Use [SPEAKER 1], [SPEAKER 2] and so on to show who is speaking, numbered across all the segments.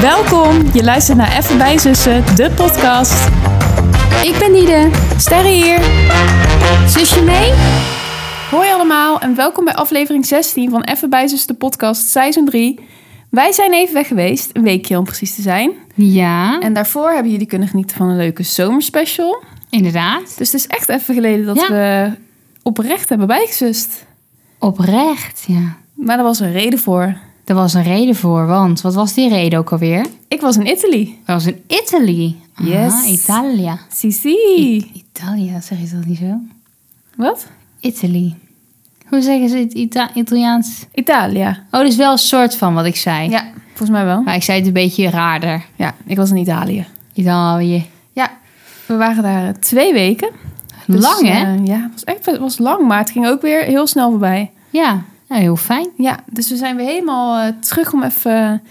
[SPEAKER 1] Welkom, je luistert naar Even bij Zussen, de podcast.
[SPEAKER 2] Ik ben Nide.
[SPEAKER 1] Sterre hier.
[SPEAKER 2] Zusje mee?
[SPEAKER 1] Hoi allemaal en welkom bij aflevering 16 van Even bij Zussen, de podcast, seizoen 3. Wij zijn even weg geweest, een weekje om precies te zijn.
[SPEAKER 2] Ja,
[SPEAKER 1] En daarvoor hebben jullie kunnen genieten van een leuke zomerspecial.
[SPEAKER 2] inderdaad.
[SPEAKER 1] Dus het is echt even geleden dat
[SPEAKER 2] Ja.
[SPEAKER 1] we oprecht hebben bijgezust.
[SPEAKER 2] Oprecht, ja.
[SPEAKER 1] Maar daar was een reden voor.
[SPEAKER 2] Daar was een reden voor, want wat was die reden ook alweer?
[SPEAKER 1] Ik was in Italy.
[SPEAKER 2] Dat was in Italy.
[SPEAKER 1] Yes.
[SPEAKER 2] Italia.
[SPEAKER 1] Sisi.
[SPEAKER 2] Italia, zeg je dat niet zo?
[SPEAKER 1] Wat?
[SPEAKER 2] Italy. Hoe zeggen ze het Ita- Italiaans?
[SPEAKER 1] Italia.
[SPEAKER 2] Oh, dat is wel een soort van wat ik zei.
[SPEAKER 1] Ja, volgens mij wel.
[SPEAKER 2] Maar ik zei het een beetje raarder.
[SPEAKER 1] Ja, ik was in Italië.
[SPEAKER 2] Italië.
[SPEAKER 1] Ja, we waren daar eh, twee weken. Dus,
[SPEAKER 2] Lang, hè?
[SPEAKER 1] eh, ja, het was, echt, het was lang, maar het ging ook weer heel snel voorbij.
[SPEAKER 2] Ja, nou, heel fijn.
[SPEAKER 1] Ja, dus we zijn weer helemaal eh, terug om even... eh,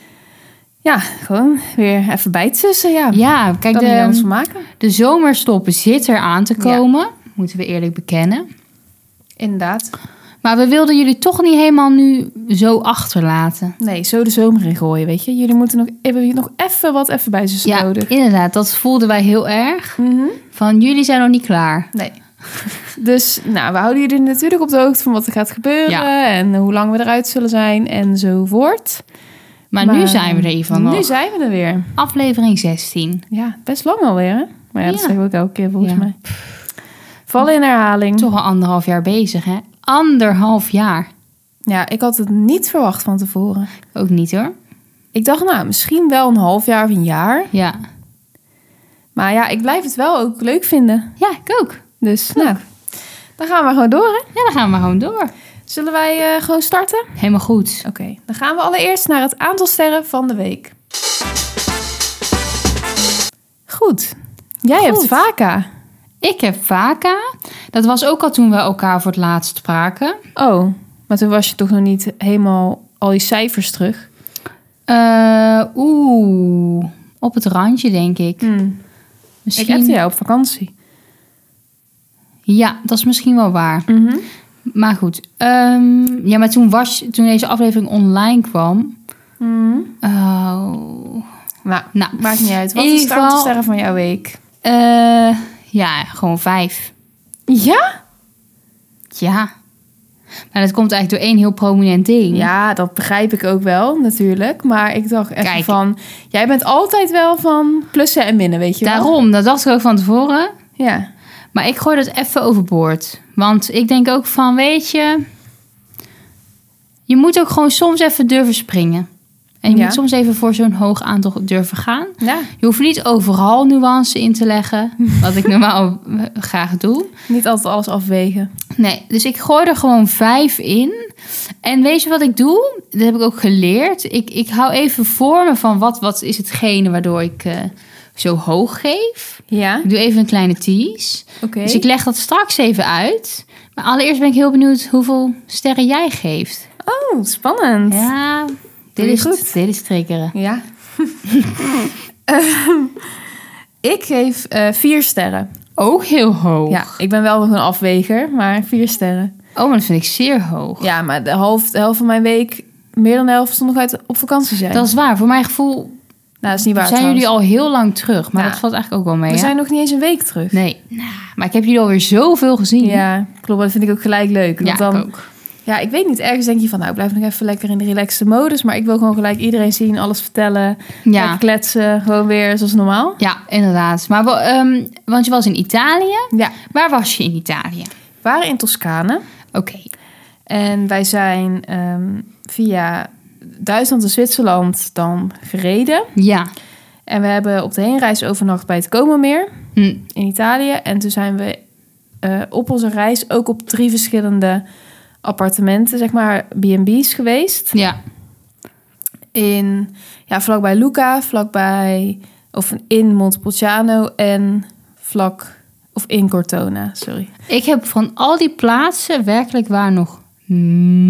[SPEAKER 1] ja, gewoon weer even bij te zussen. Ja,
[SPEAKER 2] Ja, kijk,
[SPEAKER 1] kan er niet anders
[SPEAKER 2] de,
[SPEAKER 1] van maken.
[SPEAKER 2] de zomerstop zit er aan te
[SPEAKER 1] Ja.
[SPEAKER 2] komen. Moeten we eerlijk bekennen.
[SPEAKER 1] Inderdaad.
[SPEAKER 2] Maar we wilden jullie toch niet helemaal nu zo achterlaten.
[SPEAKER 1] Nee, zo de zomer in gooien, weet je. Jullie moeten nog, hebben hier nog even wat even bij zussen
[SPEAKER 2] Ja,
[SPEAKER 1] nodig.
[SPEAKER 2] inderdaad. Dat voelden wij heel erg.
[SPEAKER 1] Mhm.
[SPEAKER 2] Van jullie zijn nog niet klaar.
[SPEAKER 1] Nee. Dus nou, we houden jullie natuurlijk op de hoogte van wat er gaat gebeuren en hoe lang we eruit zullen zijn enzovoort.
[SPEAKER 2] Maar, nu zijn we er even
[SPEAKER 1] Nu
[SPEAKER 2] nog.
[SPEAKER 1] zijn we er weer.
[SPEAKER 2] Aflevering 16.
[SPEAKER 1] Ja, best lang alweer, hè? Maar ja, dat
[SPEAKER 2] Ja.
[SPEAKER 1] zeggen we ook elke keer volgens
[SPEAKER 2] Ja.
[SPEAKER 1] mij. Vallen in herhaling.
[SPEAKER 2] Toch al anderhalf jaar bezig, hè? Anderhalf jaar.
[SPEAKER 1] Ja, ik had het niet verwacht van tevoren.
[SPEAKER 2] Ook niet hoor.
[SPEAKER 1] Ik dacht, nou, misschien wel een half jaar of een jaar.
[SPEAKER 2] Ja.
[SPEAKER 1] Maar ja, ik blijf het wel ook leuk vinden.
[SPEAKER 2] Ja, ik ook.
[SPEAKER 1] Dus, nou, dan gaan we gewoon door, hè?
[SPEAKER 2] Ja, dan gaan we gewoon door.
[SPEAKER 1] Zullen wij eh, gewoon starten?
[SPEAKER 2] Helemaal goed.
[SPEAKER 1] Oké, dan gaan we allereerst naar het aantal sterren van de week. Goed. Jij hebt
[SPEAKER 2] Goed.
[SPEAKER 1] Vaka.
[SPEAKER 2] Ik heb Vaka. Dat was ook al toen we elkaar voor het laatst spraken.
[SPEAKER 1] Oh, maar toen was je toch nog niet helemaal al die cijfers terug?
[SPEAKER 2] Eh, Oeh, op het randje denk
[SPEAKER 1] Hm,
[SPEAKER 2] ik.
[SPEAKER 1] Hmm, Ik appte jou op vakantie.
[SPEAKER 2] Ja, dat is misschien wel waar.
[SPEAKER 1] Mhm.
[SPEAKER 2] Maar goed. ehm, ja, maar toen, was, toen deze aflevering online kwam. Oh.
[SPEAKER 1] Mhm. Nou,
[SPEAKER 2] Nou,
[SPEAKER 1] maakt niet uit. Wat
[SPEAKER 2] in
[SPEAKER 1] is het
[SPEAKER 2] ieder
[SPEAKER 1] aantal
[SPEAKER 2] geval-
[SPEAKER 1] sterren van jouw week?
[SPEAKER 2] eh, ja, gewoon vijf.
[SPEAKER 1] Ja?
[SPEAKER 2] Ja. Maar dat komt eigenlijk door één heel prominent ding.
[SPEAKER 1] Ja, dat begrijp ik ook wel natuurlijk. Maar ik dacht even
[SPEAKER 2] Kijk.
[SPEAKER 1] van... Jij bent altijd wel van plussen en minnen, weet je wel?
[SPEAKER 2] Daarom, dat dacht ik ook van tevoren.
[SPEAKER 1] Ja.
[SPEAKER 2] Maar ik gooi dat even overboord. Want ik denk ook van, weet je... Je moet ook gewoon soms even durven springen. En je
[SPEAKER 1] Ja.
[SPEAKER 2] moet soms even voor zo'n hoog aantal durven gaan.
[SPEAKER 1] ja.
[SPEAKER 2] Je hoeft niet overal nuance in te leggen, wat ik normaal eh, graag doe.
[SPEAKER 1] Niet altijd alles afwegen.
[SPEAKER 2] Nee, dus ik gooi er gewoon vijf in. En weet je wat ik doe? Dat heb ik ook geleerd. Ik, ik hou even voor me van wat, wat is hetgene waardoor ik eh, zo hoog geef.
[SPEAKER 1] Ja,
[SPEAKER 2] Ik doe even een kleine tease.
[SPEAKER 1] oké.
[SPEAKER 2] Dus ik leg dat straks even uit. Maar allereerst ben ik heel benieuwd hoeveel sterren jij geeft.
[SPEAKER 1] Oh, spannend. Ja.
[SPEAKER 2] Ja,
[SPEAKER 1] Doe
[SPEAKER 2] dit
[SPEAKER 1] je
[SPEAKER 2] is,
[SPEAKER 1] goed.
[SPEAKER 2] dit is triggeren.
[SPEAKER 1] Ehm, ik geef eh, vier sterren.
[SPEAKER 2] Ook heel hoog.
[SPEAKER 1] Ja, ik ben wel nog een afweger, maar vier sterren.
[SPEAKER 2] Oh, maar dat vind ik zeer hoog.
[SPEAKER 1] Ja, maar de helft, de helft van mijn week, meer dan de helft, stond nog uit op vakantie zijn.
[SPEAKER 2] Dat is waar. Voor mijn gevoel
[SPEAKER 1] nou, dat is niet waar.
[SPEAKER 2] zijn
[SPEAKER 1] trouwens.
[SPEAKER 2] jullie al heel lang terug. Maar
[SPEAKER 1] Ja.
[SPEAKER 2] dat valt eigenlijk ook wel mee.
[SPEAKER 1] We
[SPEAKER 2] hè?
[SPEAKER 1] zijn nog niet eens een week terug.
[SPEAKER 2] Nee. Maar ik heb jullie alweer zoveel gezien.
[SPEAKER 1] Ja, klopt. Dat vind ik ook gelijk leuk.
[SPEAKER 2] Ja,
[SPEAKER 1] Want dan,
[SPEAKER 2] ik ook.
[SPEAKER 1] ja, ik weet niet. Ergens denk je van, nou, ik blijf nog even lekker in de relaxte modus. Maar ik wil gewoon gelijk iedereen zien, alles vertellen.
[SPEAKER 2] Ja.
[SPEAKER 1] Lekker kletsen, gewoon weer zoals normaal.
[SPEAKER 2] ja, inderdaad. Maar, wa- ehm, want je was in Italië.
[SPEAKER 1] Ja,
[SPEAKER 2] Waar was je in Italië?
[SPEAKER 1] we waren in Toscane.
[SPEAKER 2] Oké.
[SPEAKER 1] En wij zijn ehm, via Duitsland en Zwitserland dan gereden.
[SPEAKER 2] Ja.
[SPEAKER 1] En we hebben op de heenreis overnacht bij het Comermeer
[SPEAKER 2] Hm.
[SPEAKER 1] in Italië. En toen zijn we eh, op onze reis ook op drie verschillende appartementen, zeg maar, B&B's geweest.
[SPEAKER 2] Hm, Ja.
[SPEAKER 1] In, ja, vlakbij Lucca, vlakbij, of in Montepulciano en vlak, of in Cortona, sorry.
[SPEAKER 2] Ik heb van al die plaatsen werkelijk waar nog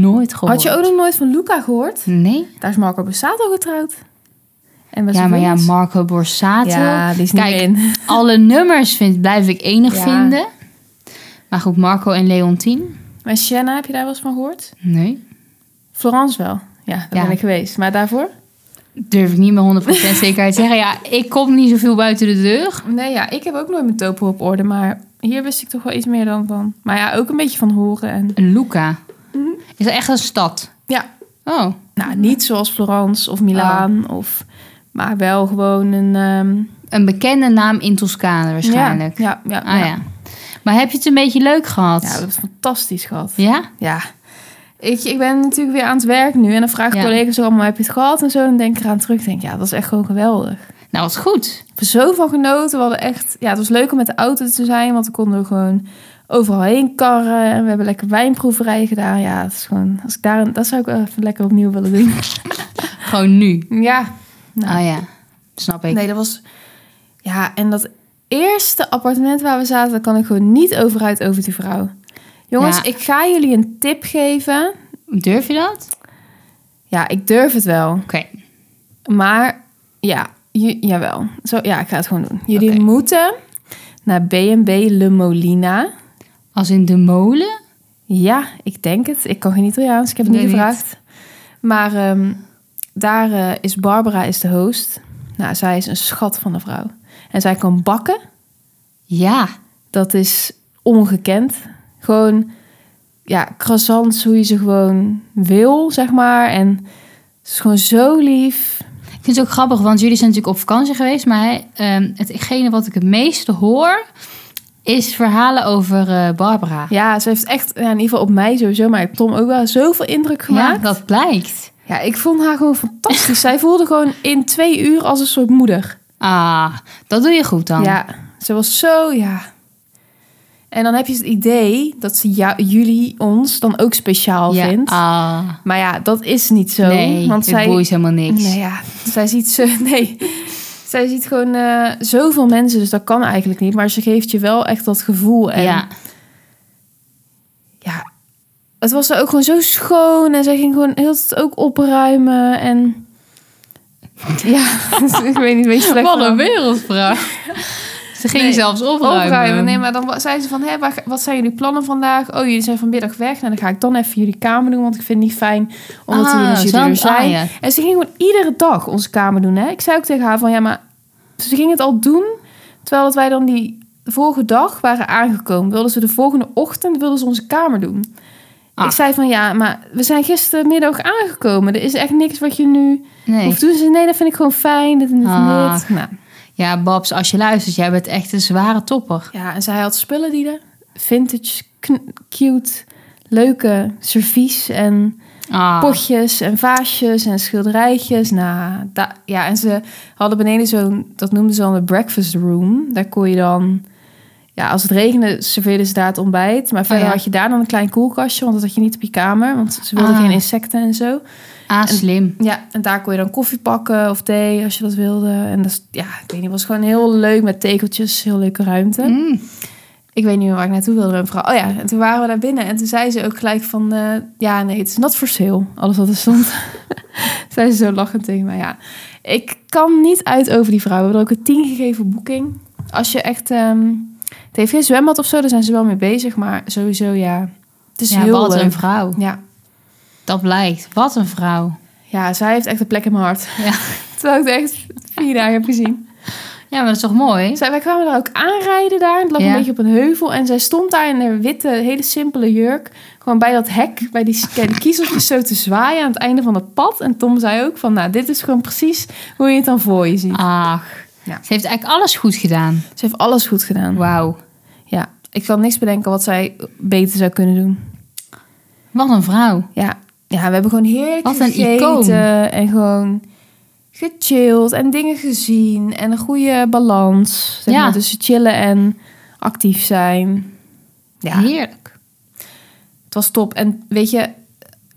[SPEAKER 2] nooit gehoord.
[SPEAKER 1] Had je ook nog nooit van Lucca gehoord?
[SPEAKER 2] Nee.
[SPEAKER 1] Daar is Marco Bussato getrouwd. En met
[SPEAKER 2] ja,
[SPEAKER 1] zijn
[SPEAKER 2] maar ja,
[SPEAKER 1] vriend.
[SPEAKER 2] Marco Borsato.
[SPEAKER 1] Ja, die is niet
[SPEAKER 2] Kijk,
[SPEAKER 1] meer in.
[SPEAKER 2] alle nummers vind, blijf ik enig
[SPEAKER 1] Ja.
[SPEAKER 2] vinden. Maar goed, Marco en Leontien?
[SPEAKER 1] Maar Sienna, heb je daar wel eens van gehoord?
[SPEAKER 2] Nee.
[SPEAKER 1] Florence wel. Ja, daar
[SPEAKER 2] Ja.
[SPEAKER 1] ben ik geweest. Maar daarvoor?
[SPEAKER 2] durf ik niet met 100% zekerheid zeggen. Ja, ik kom niet zoveel buiten de deur.
[SPEAKER 1] Nee, ja, ik heb ook nooit mijn topo op orde, maar hier wist ik toch wel iets meer dan van. Maar ja, ook een beetje van horen en...
[SPEAKER 2] Luca. Is dat echt een stad?
[SPEAKER 1] Ja,
[SPEAKER 2] Oh,
[SPEAKER 1] nou, niet zoals Florence of Milaan of... Maar wel gewoon een... ehm,
[SPEAKER 2] een bekende naam in Toscane waarschijnlijk.
[SPEAKER 1] Ja, ja, ja.
[SPEAKER 2] Ah ja. Maar heb je het een beetje leuk gehad?
[SPEAKER 1] Ja, we
[SPEAKER 2] Ja?
[SPEAKER 1] hebben het fantastisch gehad. Ja. Ik, ik ben natuurlijk weer aan het werk nu. En dan vragen
[SPEAKER 2] Ja.
[SPEAKER 1] collega's ook allemaal, heb je het gehad? En zo, dan denk ik eraan terug. Ik denk, ja, dat was echt gewoon geweldig.
[SPEAKER 2] Nou, wat goed.
[SPEAKER 1] We hebben zo van genoten. We hadden echt... Ja, het was leuk om met de auto te zijn. Want we konden gewoon overal heen karren. En we hebben lekker wijnproeverijen gedaan. Ja, het is gewoon... Als ik daar, dat zou ik wel even lekker opnieuw willen doen.
[SPEAKER 2] Gewoon nu.
[SPEAKER 1] ja. Nou.
[SPEAKER 2] Ah ja, snap ik.
[SPEAKER 1] Nee, dat was... Ja, en dat eerste appartement waar we zaten... daar kan ik gewoon niet over uit over die vrouw. Jongens,
[SPEAKER 2] Ja.
[SPEAKER 1] ik ga jullie een tip geven.
[SPEAKER 2] Durf je dat?
[SPEAKER 1] Ja, ik durf het wel.
[SPEAKER 2] Oké.
[SPEAKER 1] Maar ja, j- jawel. Zo, ja, ik ga het gewoon doen. Jullie
[SPEAKER 2] Oké.
[SPEAKER 1] moeten naar B&B Le Molina.
[SPEAKER 2] Als in de molen?
[SPEAKER 1] Ja, ik denk het. Ik kan geen Italiaans. Ik heb het
[SPEAKER 2] Nee,
[SPEAKER 1] niet
[SPEAKER 2] niet.
[SPEAKER 1] gevraagd. Maar ehm, daar eh, is Barbara is de host. Nou, zij is een schat van een vrouw. En zij kan bakken.
[SPEAKER 2] Ja.
[SPEAKER 1] Dat is ongekend. Gewoon, ja, croissants hoe je ze gewoon wil, zeg maar. En ze is gewoon zo lief.
[SPEAKER 2] Ik vind het ook grappig, want jullie zijn natuurlijk op vakantie geweest. Maar hè, ehm, hetgene wat ik het meeste hoor, is verhalen over eh, Barbara.
[SPEAKER 1] Ja, ze heeft echt, ja, in ieder geval op mij sowieso, maar op Tom ook wel zoveel indruk
[SPEAKER 2] Ja,
[SPEAKER 1] gemaakt. Ja,
[SPEAKER 2] dat blijkt.
[SPEAKER 1] ik vond haar gewoon fantastisch. Zij voelde gewoon in twee uur als een soort moeder.
[SPEAKER 2] Ah, dat doe je goed dan.
[SPEAKER 1] Ja, ze was zo, ja. En dan heb je het idee dat ze jou, jullie ons dan ook speciaal
[SPEAKER 2] Ja,
[SPEAKER 1] vindt.
[SPEAKER 2] Ah,
[SPEAKER 1] Maar ja, dat is niet zo.
[SPEAKER 2] nee,
[SPEAKER 1] want
[SPEAKER 2] het
[SPEAKER 1] zij,
[SPEAKER 2] boeit helemaal niks.
[SPEAKER 1] Nee, ja, zij ziet zo, nee. Zij ziet gewoon eh, zoveel mensen, dus dat kan eigenlijk niet. Maar ze geeft je wel echt dat gevoel. En
[SPEAKER 2] ja,
[SPEAKER 1] ja, het was er ook gewoon zo schoon. En zij ging gewoon heel de tijd ook opruimen. En ja, ik weet niet, een beetje slecht.
[SPEAKER 2] Wat
[SPEAKER 1] verhaal.
[SPEAKER 2] een wereldvrouw. Ze ging
[SPEAKER 1] Nee,
[SPEAKER 2] zelfs opruimen.
[SPEAKER 1] Opruimen. Nee, maar dan wa- zei ze van, hè, waar- wat zijn jullie plannen vandaag? Oh, jullie zijn vanmiddag weg. Nou, dan ga ik dan even jullie kamer doen, want ik vind het niet fijn omdat
[SPEAKER 2] Ah,
[SPEAKER 1] jullie dus jullie er
[SPEAKER 2] zo- ah,
[SPEAKER 1] zijn.
[SPEAKER 2] ja.
[SPEAKER 1] En ze ging gewoon iedere dag onze kamer doen. Hè? Ik zei ook tegen haar van, ja, maar ze ging het al doen, terwijl dat wij dan die vorige dag waren aangekomen. Wilden ze de volgende ochtend wilden ze onze kamer doen. Ik
[SPEAKER 2] Ah.
[SPEAKER 1] zei van, ja, maar we zijn gistermiddag aangekomen. Er is echt niks wat je nu
[SPEAKER 2] Nee.
[SPEAKER 1] hoeft te doen. Ze zei, nee, dat vind ik gewoon fijn. Dit en dit en
[SPEAKER 2] Ah.
[SPEAKER 1] dit. Nou,
[SPEAKER 2] Ja, Babs, als je luistert, jij bent echt een zware topper.
[SPEAKER 1] Ja, en zij had spullen die er vintage, kn- cute, leuke servies en
[SPEAKER 2] Ah,
[SPEAKER 1] potjes en vaasjes en schilderijtjes. Nou, da- ja, en ze hadden beneden zo'n, dat noemden ze dan de breakfast room. Daar kon je dan, ja, als het regende serveerden ze daar het ontbijt. Maar verder
[SPEAKER 2] Oh ja.
[SPEAKER 1] had je daar dan een klein koelkastje, want dat had je niet op je kamer. Want ze wilden
[SPEAKER 2] Ah.
[SPEAKER 1] geen insecten en zo.
[SPEAKER 2] ah, slim.
[SPEAKER 1] Ja, en daar kon je dan koffie pakken of thee als je dat wilde. En dat, is- ja, ik weet niet, het was gewoon heel leuk met tekeltjes, heel leuke ruimte.
[SPEAKER 2] Mm.
[SPEAKER 1] Ik weet niet meer waar ik naartoe wilde met mevrouw. Oh ja, en toen waren we daar binnen en toen zei ze ook gelijk van... eh, ja, nee, het is not for sale, alles wat er stond. zei ze zo lachend tegen mij, ja. Ik kan niet uit over die vrouw. We hebben er ook een 10 gegeven op boeking. Als je echt... ehm het heeft geen zwembad of zo, daar zijn ze wel mee bezig. Maar sowieso, ja, het is
[SPEAKER 2] Ja,
[SPEAKER 1] heel
[SPEAKER 2] wat
[SPEAKER 1] leuk.
[SPEAKER 2] een vrouw.
[SPEAKER 1] Ja.
[SPEAKER 2] Dat blijkt. Wat een vrouw.
[SPEAKER 1] ja, zij heeft echt een plek in mijn hart.
[SPEAKER 2] Ja.
[SPEAKER 1] Terwijl ik het echt vier dagen heb gezien.
[SPEAKER 2] Ja, maar dat is toch mooi?
[SPEAKER 1] Zij, wij kwamen daar ook aanrijden daar. Het lag een
[SPEAKER 2] Ja.
[SPEAKER 1] beetje op een heuvel. En zij stond daar in een witte, hele simpele jurk. Gewoon bij dat hek, bij die, bij die kiezeltjes zo te zwaaien aan het einde van het pad. En Tom zei ook van, nou, dit is gewoon precies hoe je het dan voor je ziet.
[SPEAKER 2] Ach.
[SPEAKER 1] Ja.
[SPEAKER 2] Ze heeft eigenlijk alles goed gedaan.
[SPEAKER 1] Ze heeft alles goed gedaan.
[SPEAKER 2] Wauw.
[SPEAKER 1] Ja, ik kan niks bedenken wat zij beter zou kunnen doen.
[SPEAKER 2] Wat een vrouw.
[SPEAKER 1] Ja, ja we hebben gewoon heerlijk
[SPEAKER 2] Wat een
[SPEAKER 1] gegeten.
[SPEAKER 2] icoon.
[SPEAKER 1] En gewoon gechilled en dingen gezien. En een goede balans zeg
[SPEAKER 2] Ja.
[SPEAKER 1] maar, tussen chillen en actief zijn. Ja.
[SPEAKER 2] Heerlijk.
[SPEAKER 1] Het was top. En weet je,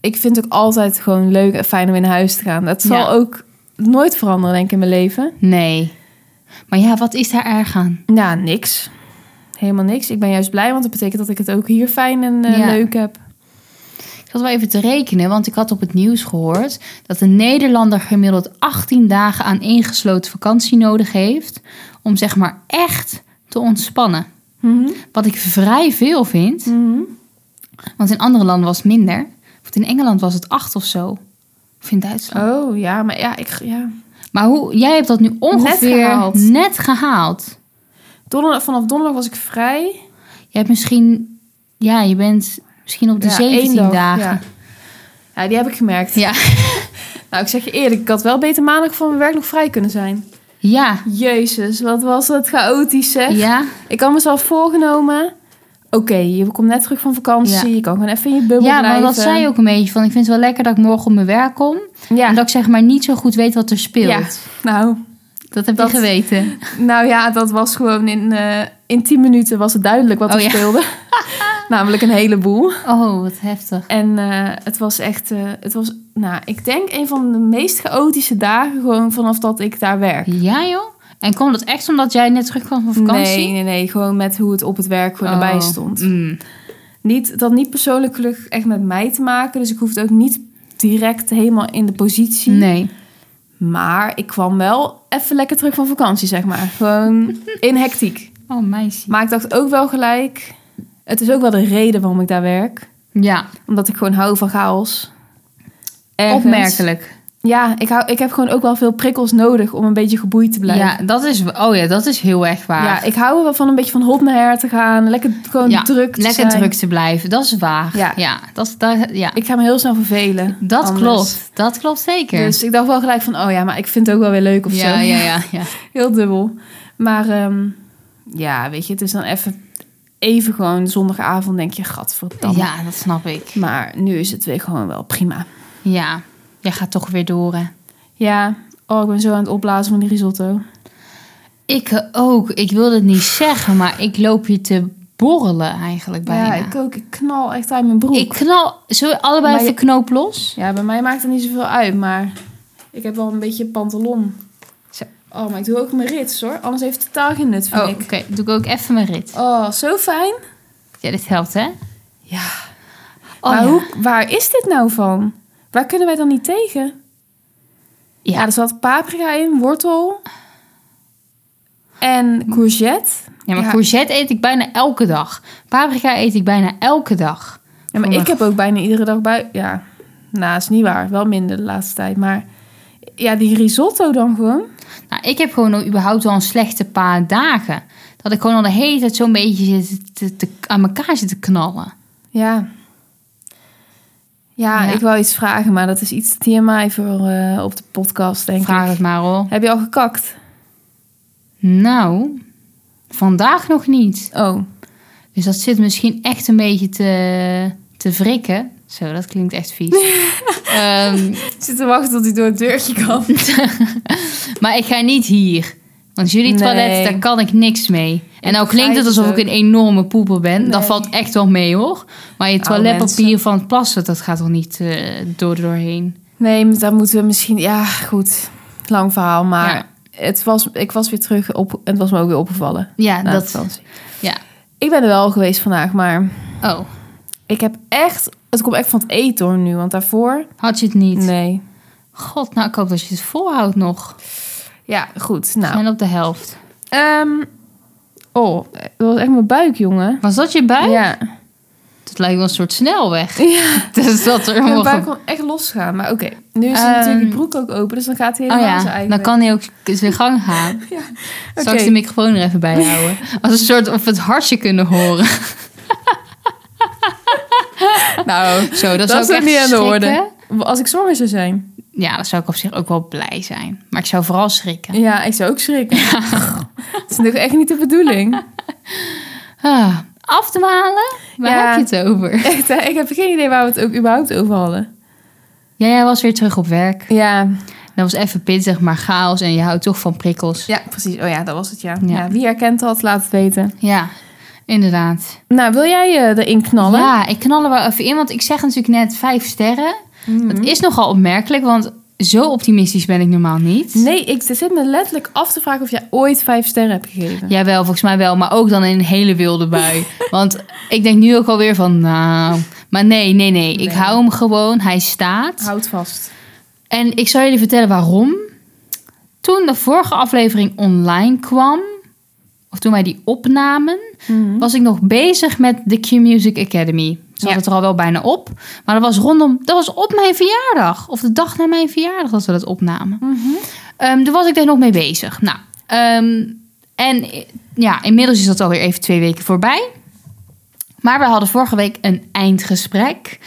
[SPEAKER 1] ik vind het ook altijd gewoon leuk en fijn om weer naar huis te gaan. Dat zal
[SPEAKER 2] Ja.
[SPEAKER 1] ook nooit veranderen, denk ik, in mijn leven.
[SPEAKER 2] Nee. Maar ja, wat is daar erg aan?
[SPEAKER 1] Ja, niks. Helemaal niks. Ik ben juist blij, want dat betekent dat ik het ook hier fijn en eh,
[SPEAKER 2] Ja.
[SPEAKER 1] leuk heb.
[SPEAKER 2] Ik zat wel even te rekenen, want ik had op het nieuws gehoord dat een Nederlander gemiddeld 18 dagen aan ingesloten vakantie nodig heeft om zeg maar echt te ontspannen.
[SPEAKER 1] Mhm.
[SPEAKER 2] Wat ik vrij veel vind,
[SPEAKER 1] Mhm.
[SPEAKER 2] want in andere landen was het minder. Want in Engeland was het acht of zo. Of in Duitsland.
[SPEAKER 1] Oh ja, maar ja, ik, ja.
[SPEAKER 2] Maar hoe, jij hebt dat nu ongeveer net
[SPEAKER 1] gehaald.
[SPEAKER 2] gehaald.
[SPEAKER 1] Donder, vanaf donderdag was ik vrij.
[SPEAKER 2] Je hebt misschien... Ja, je bent misschien op de
[SPEAKER 1] Ja, één
[SPEAKER 2] 17
[SPEAKER 1] dag,
[SPEAKER 2] dagen.
[SPEAKER 1] Ja. ja, die heb ik gemerkt.
[SPEAKER 2] Ja. ja.
[SPEAKER 1] Nou, ik zeg je eerlijk, ik had wel beter maandag van mijn werk nog vrij kunnen zijn.
[SPEAKER 2] Ja.
[SPEAKER 1] Jezus, wat was dat chaotisch zeg. Ik had mezelf voorgenomen. Oké, je komt net terug van vakantie. Je kan gewoon even in je bubbel
[SPEAKER 2] Ja, maar
[SPEAKER 1] blijven.
[SPEAKER 2] dat zei je ook een beetje van... Ik vind het wel lekker dat ik morgen op mijn werk kom.
[SPEAKER 1] Ja,
[SPEAKER 2] En dat ik zeg maar niet zo goed weet wat er speelt.
[SPEAKER 1] Ja. nou,
[SPEAKER 2] Dat heb
[SPEAKER 1] Dat-
[SPEAKER 2] je geweten.
[SPEAKER 1] nou ja, dat was gewoon in, eh in 10 minuten was het duidelijk wat er
[SPEAKER 2] Oh, ja.
[SPEAKER 1] speelde. Namelijk een heleboel.
[SPEAKER 2] Oh, wat heftig.
[SPEAKER 1] En eh, het was echt, eh, het was, nou, ik denk een van de meest chaotische dagen gewoon vanaf dat ik daar werk.
[SPEAKER 2] Ja, joh. En kwam dat echt omdat jij net terugkwam van vakantie?
[SPEAKER 1] Nee, nee, nee, gewoon met hoe het op het werk gewoon erbij
[SPEAKER 2] Oh,
[SPEAKER 1] stond.
[SPEAKER 2] mm.
[SPEAKER 1] Niet, dat niet persoonlijk gelukkig echt met mij te maken, dus ik hoefde ook niet direct helemaal in de positie.
[SPEAKER 2] Nee.
[SPEAKER 1] Maar ik kwam wel even lekker terug van vakantie, zeg maar. Gewoon in hectiek.
[SPEAKER 2] Oh, meisje.
[SPEAKER 1] Maar ik dacht ook wel gelijk, het is ook wel de reden waarom ik daar werk.
[SPEAKER 2] Ja,
[SPEAKER 1] Omdat ik gewoon hou van chaos. Ergens.
[SPEAKER 2] opmerkelijk.
[SPEAKER 1] Ja, ik, hou, ik heb gewoon ook wel veel prikkels nodig om een beetje geboeid te blijven.
[SPEAKER 2] Ja, dat is, oh ja, dat is heel erg waar.
[SPEAKER 1] Ja, ik hou er wel van een beetje van hot naar her te gaan. Lekker gewoon
[SPEAKER 2] Ja,
[SPEAKER 1] druk te
[SPEAKER 2] Lekker
[SPEAKER 1] zijn.
[SPEAKER 2] druk te blijven, dat is waar.
[SPEAKER 1] Ja.
[SPEAKER 2] Ja, dat, dat, ja.
[SPEAKER 1] Ik ga me heel snel vervelen.
[SPEAKER 2] dat
[SPEAKER 1] anders.
[SPEAKER 2] klopt. Dat klopt zeker.
[SPEAKER 1] Dus ik dacht wel gelijk van, oh ja, maar ik vind het ook wel weer leuk of
[SPEAKER 2] ja,
[SPEAKER 1] zo.
[SPEAKER 2] ja, ja, ja.
[SPEAKER 1] Heel dubbel. Maar ehm, ja, weet je, het is dan even, even gewoon zondagavond denk je, gadverdamme.
[SPEAKER 2] ja, dat snap ik.
[SPEAKER 1] Maar nu is het weer gewoon wel prima.
[SPEAKER 2] Ja, jij gaat toch weer door. Hè?
[SPEAKER 1] Ja, oh, ik ben zo aan het opblazen van die risotto.
[SPEAKER 2] Ik eh, ook. Ik wil het niet zeggen, maar ik loop hier te borrelen eigenlijk bijna.
[SPEAKER 1] Ja, ik ook. Ik knal echt uit mijn broek.
[SPEAKER 2] Ik knal... Zullen we allebei
[SPEAKER 1] Maar je-
[SPEAKER 2] even knoop los?
[SPEAKER 1] Ja, bij mij maakt het niet zoveel uit, maar ik heb wel een beetje pantalon.
[SPEAKER 2] Zo.
[SPEAKER 1] Oh, maar ik doe ook mijn rits hoor. Anders heeft het totaal geen nut, vind
[SPEAKER 2] Oh, oké.
[SPEAKER 1] ik.
[SPEAKER 2] Doe ik ook even mijn rit.
[SPEAKER 1] Oh, zo fijn.
[SPEAKER 2] Ja, dit helpt, hè?
[SPEAKER 1] Ja.
[SPEAKER 2] Oh,
[SPEAKER 1] maar
[SPEAKER 2] ja.
[SPEAKER 1] Hoe, waar is dit nou van? Waar kunnen wij dan niet tegen? Ja,
[SPEAKER 2] Ja,
[SPEAKER 1] er zat paprika in, wortel en courgette.
[SPEAKER 2] Ja, maar
[SPEAKER 1] Ja.
[SPEAKER 2] courgette eet ik bijna elke dag. Paprika eet ik bijna elke dag.
[SPEAKER 1] Ja, maar
[SPEAKER 2] Voor
[SPEAKER 1] ik
[SPEAKER 2] mijn-
[SPEAKER 1] heb ook bijna iedere dag bij... Ja, nou, is niet waar. Wel minder de laatste tijd, maar... Ja, die risotto dan gewoon.
[SPEAKER 2] Nou, ik heb gewoon al überhaupt wel een slechte paar dagen. Dat ik gewoon al de hele tijd zo'n beetje zit te, te- aan elkaar zit te knallen.
[SPEAKER 1] Ja. Ja,
[SPEAKER 2] Ja.
[SPEAKER 1] ik wou iets vragen, maar dat is iets TMI voor eh, op de podcast, denk
[SPEAKER 2] Vraag
[SPEAKER 1] ik.
[SPEAKER 2] het maar hoor.
[SPEAKER 1] Heb je al gekakt?
[SPEAKER 2] Nou, vandaag nog niet.
[SPEAKER 1] Oh,
[SPEAKER 2] Dus dat zit misschien echt een beetje te, te wrikken. Zo, dat klinkt echt vies. Ehm,
[SPEAKER 1] ik zit te wachten tot hij door het deurtje kan.
[SPEAKER 2] maar ik ga niet hier. Want jullie
[SPEAKER 1] Nee.
[SPEAKER 2] toilet, daar kan ik niks mee. En nou klinkt
[SPEAKER 1] begrijp
[SPEAKER 2] het alsof
[SPEAKER 1] het
[SPEAKER 2] ik een enorme poeper ben.
[SPEAKER 1] Nee. Oh,
[SPEAKER 2] Dat valt echt wel mee hoor. Maar je
[SPEAKER 1] Oude
[SPEAKER 2] toiletpapier van het plassen, dat gaat toch niet eh, door doorheen.
[SPEAKER 1] Nee, maar daar moeten we misschien... Ja, goed. Lang verhaal, maar
[SPEAKER 2] Ja.
[SPEAKER 1] het was, ik was weer terug op... Het was me ook weer opgevallen.
[SPEAKER 2] Ja,
[SPEAKER 1] na de
[SPEAKER 2] dat.
[SPEAKER 1] vakantie.
[SPEAKER 2] Ja.
[SPEAKER 1] Ik ben er wel geweest vandaag, maar
[SPEAKER 2] Oh,
[SPEAKER 1] ik heb echt... Het komt echt van het eten hoor nu, want daarvoor...
[SPEAKER 2] had je het niet?
[SPEAKER 1] Nee.
[SPEAKER 2] God, nou ik hoop dat je het volhoudt nog.
[SPEAKER 1] Ja, goed.
[SPEAKER 2] We
[SPEAKER 1] Nou.
[SPEAKER 2] zijn op de helft.
[SPEAKER 1] Ehm, oh, dat was echt mijn buik, jongen.
[SPEAKER 2] Was dat je buik?
[SPEAKER 1] Ja.
[SPEAKER 2] Het lijkt wel een soort snelweg.
[SPEAKER 1] Ja.
[SPEAKER 2] Dus dat er
[SPEAKER 1] Mijn
[SPEAKER 2] nog
[SPEAKER 1] buik
[SPEAKER 2] een...
[SPEAKER 1] kon echt losgaan. Maar oké, nu is
[SPEAKER 2] Ehm.
[SPEAKER 1] natuurlijk die broek ook open. Dus dan gaat hij
[SPEAKER 2] Oh
[SPEAKER 1] helemaal zijn
[SPEAKER 2] ja,
[SPEAKER 1] eigen
[SPEAKER 2] dan
[SPEAKER 1] weg.
[SPEAKER 2] kan hij ook zijn gang gaan. Straks
[SPEAKER 1] Oké.
[SPEAKER 2] de microfoon er even bij houden. Als een soort of we het hartje kunnen horen.
[SPEAKER 1] Nou,
[SPEAKER 2] Zo, dat,
[SPEAKER 1] dat
[SPEAKER 2] zou
[SPEAKER 1] is ook
[SPEAKER 2] ik
[SPEAKER 1] niet aan
[SPEAKER 2] echt
[SPEAKER 1] de
[SPEAKER 2] schrikken.
[SPEAKER 1] orde. Als ik zwanger zou zijn.
[SPEAKER 2] Ja, dan zou ik op zich ook wel blij zijn. Maar ik zou vooral schrikken.
[SPEAKER 1] Ja, ik zou ook schrikken. Het is natuurlijk echt niet de bedoeling.
[SPEAKER 2] Ah, af te halen? Waar
[SPEAKER 1] Ja.
[SPEAKER 2] heb je het over?
[SPEAKER 1] Echt, hè? ik heb geen idee waar we het ook überhaupt over hadden.
[SPEAKER 2] Ja, jij was weer terug op werk.
[SPEAKER 1] Ja,
[SPEAKER 2] Dat was even pittig, maar chaos. En je houdt toch van prikkels.
[SPEAKER 1] ja precies. Oh ja, dat was het, ja.
[SPEAKER 2] Ja.
[SPEAKER 1] Ja, wie herkent dat, laat het weten.
[SPEAKER 2] Ja, inderdaad.
[SPEAKER 1] Nou, wil jij eh, erin knallen?
[SPEAKER 2] Ja, ik knal er wel even in. Want ik zeg natuurlijk net vijf sterren.
[SPEAKER 1] Mhm.
[SPEAKER 2] Dat is nogal opmerkelijk, want zo optimistisch ben ik normaal niet.
[SPEAKER 1] Nee, ik zit me letterlijk af te vragen of jij ooit vijf sterren hebt gegeven.
[SPEAKER 2] Jawel, volgens mij wel. Maar ook dan in een hele wilde bui. Want ik denk nu ook alweer van, nou... Maar nee, nee, nee. Ik
[SPEAKER 1] Nee.
[SPEAKER 2] hou hem gewoon. Hij staat.
[SPEAKER 1] Houd vast.
[SPEAKER 2] En ik zal jullie vertellen waarom. Toen de vorige aflevering online kwam... of toen wij die opnamen,
[SPEAKER 1] Mhm.
[SPEAKER 2] was ik nog bezig met de Q Music Academy. Ze had
[SPEAKER 1] Ja.
[SPEAKER 2] het er al wel bijna op. Maar dat was rondom, dat was op mijn verjaardag. Of de dag na mijn verjaardag dat we dat opnamen.
[SPEAKER 1] Mhm.
[SPEAKER 2] Ehm daar was ik daar nog mee bezig. Nou, ehm, en eh, ja, inmiddels is dat alweer even twee weken voorbij. Maar we hadden vorige week een eindgesprek.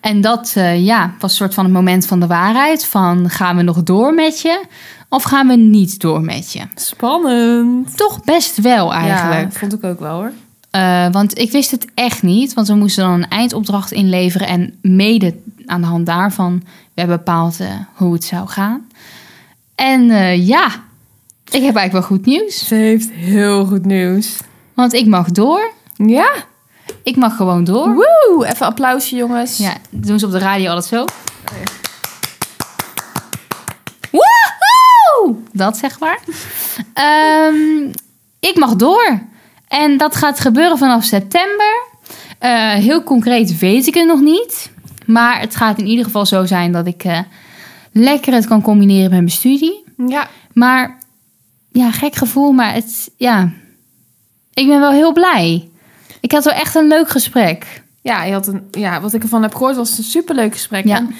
[SPEAKER 2] En dat eh, ja, was een soort van het moment van de waarheid. Van gaan we nog door met je? Of gaan we niet door met je?
[SPEAKER 1] Spannend.
[SPEAKER 2] Toch best wel eigenlijk.
[SPEAKER 1] Ja, vond ik ook wel hoor.
[SPEAKER 2] Eh, want ik wist het echt niet, want we moesten dan een eindopdracht inleveren en mede aan de hand daarvan werd bepaald eh, hoe het zou gaan. En eh, ja, ik heb eigenlijk wel goed nieuws,
[SPEAKER 1] Ze heeft heel goed nieuws.
[SPEAKER 2] want ik mag door.
[SPEAKER 1] Ja?
[SPEAKER 2] Ik mag gewoon door.
[SPEAKER 1] Woe! Even applausje jongens.
[SPEAKER 2] Ja, dat doen ze op de radio altijd zo. Woehoe! Dat zeg maar. Ehm, ik mag door. En dat gaat gebeuren vanaf september. Eh, heel concreet weet ik het nog niet. Maar het gaat in ieder geval zo zijn dat ik eh, lekker het kan combineren met mijn studie.
[SPEAKER 1] Ja.
[SPEAKER 2] Maar ja, gek gevoel. Maar het, ja, ik ben wel heel blij. Ik had wel echt een leuk gesprek.
[SPEAKER 1] Ja, je had een, ja, wat ik ervan heb gehoord was een superleuk gesprek.
[SPEAKER 2] Ja.
[SPEAKER 1] En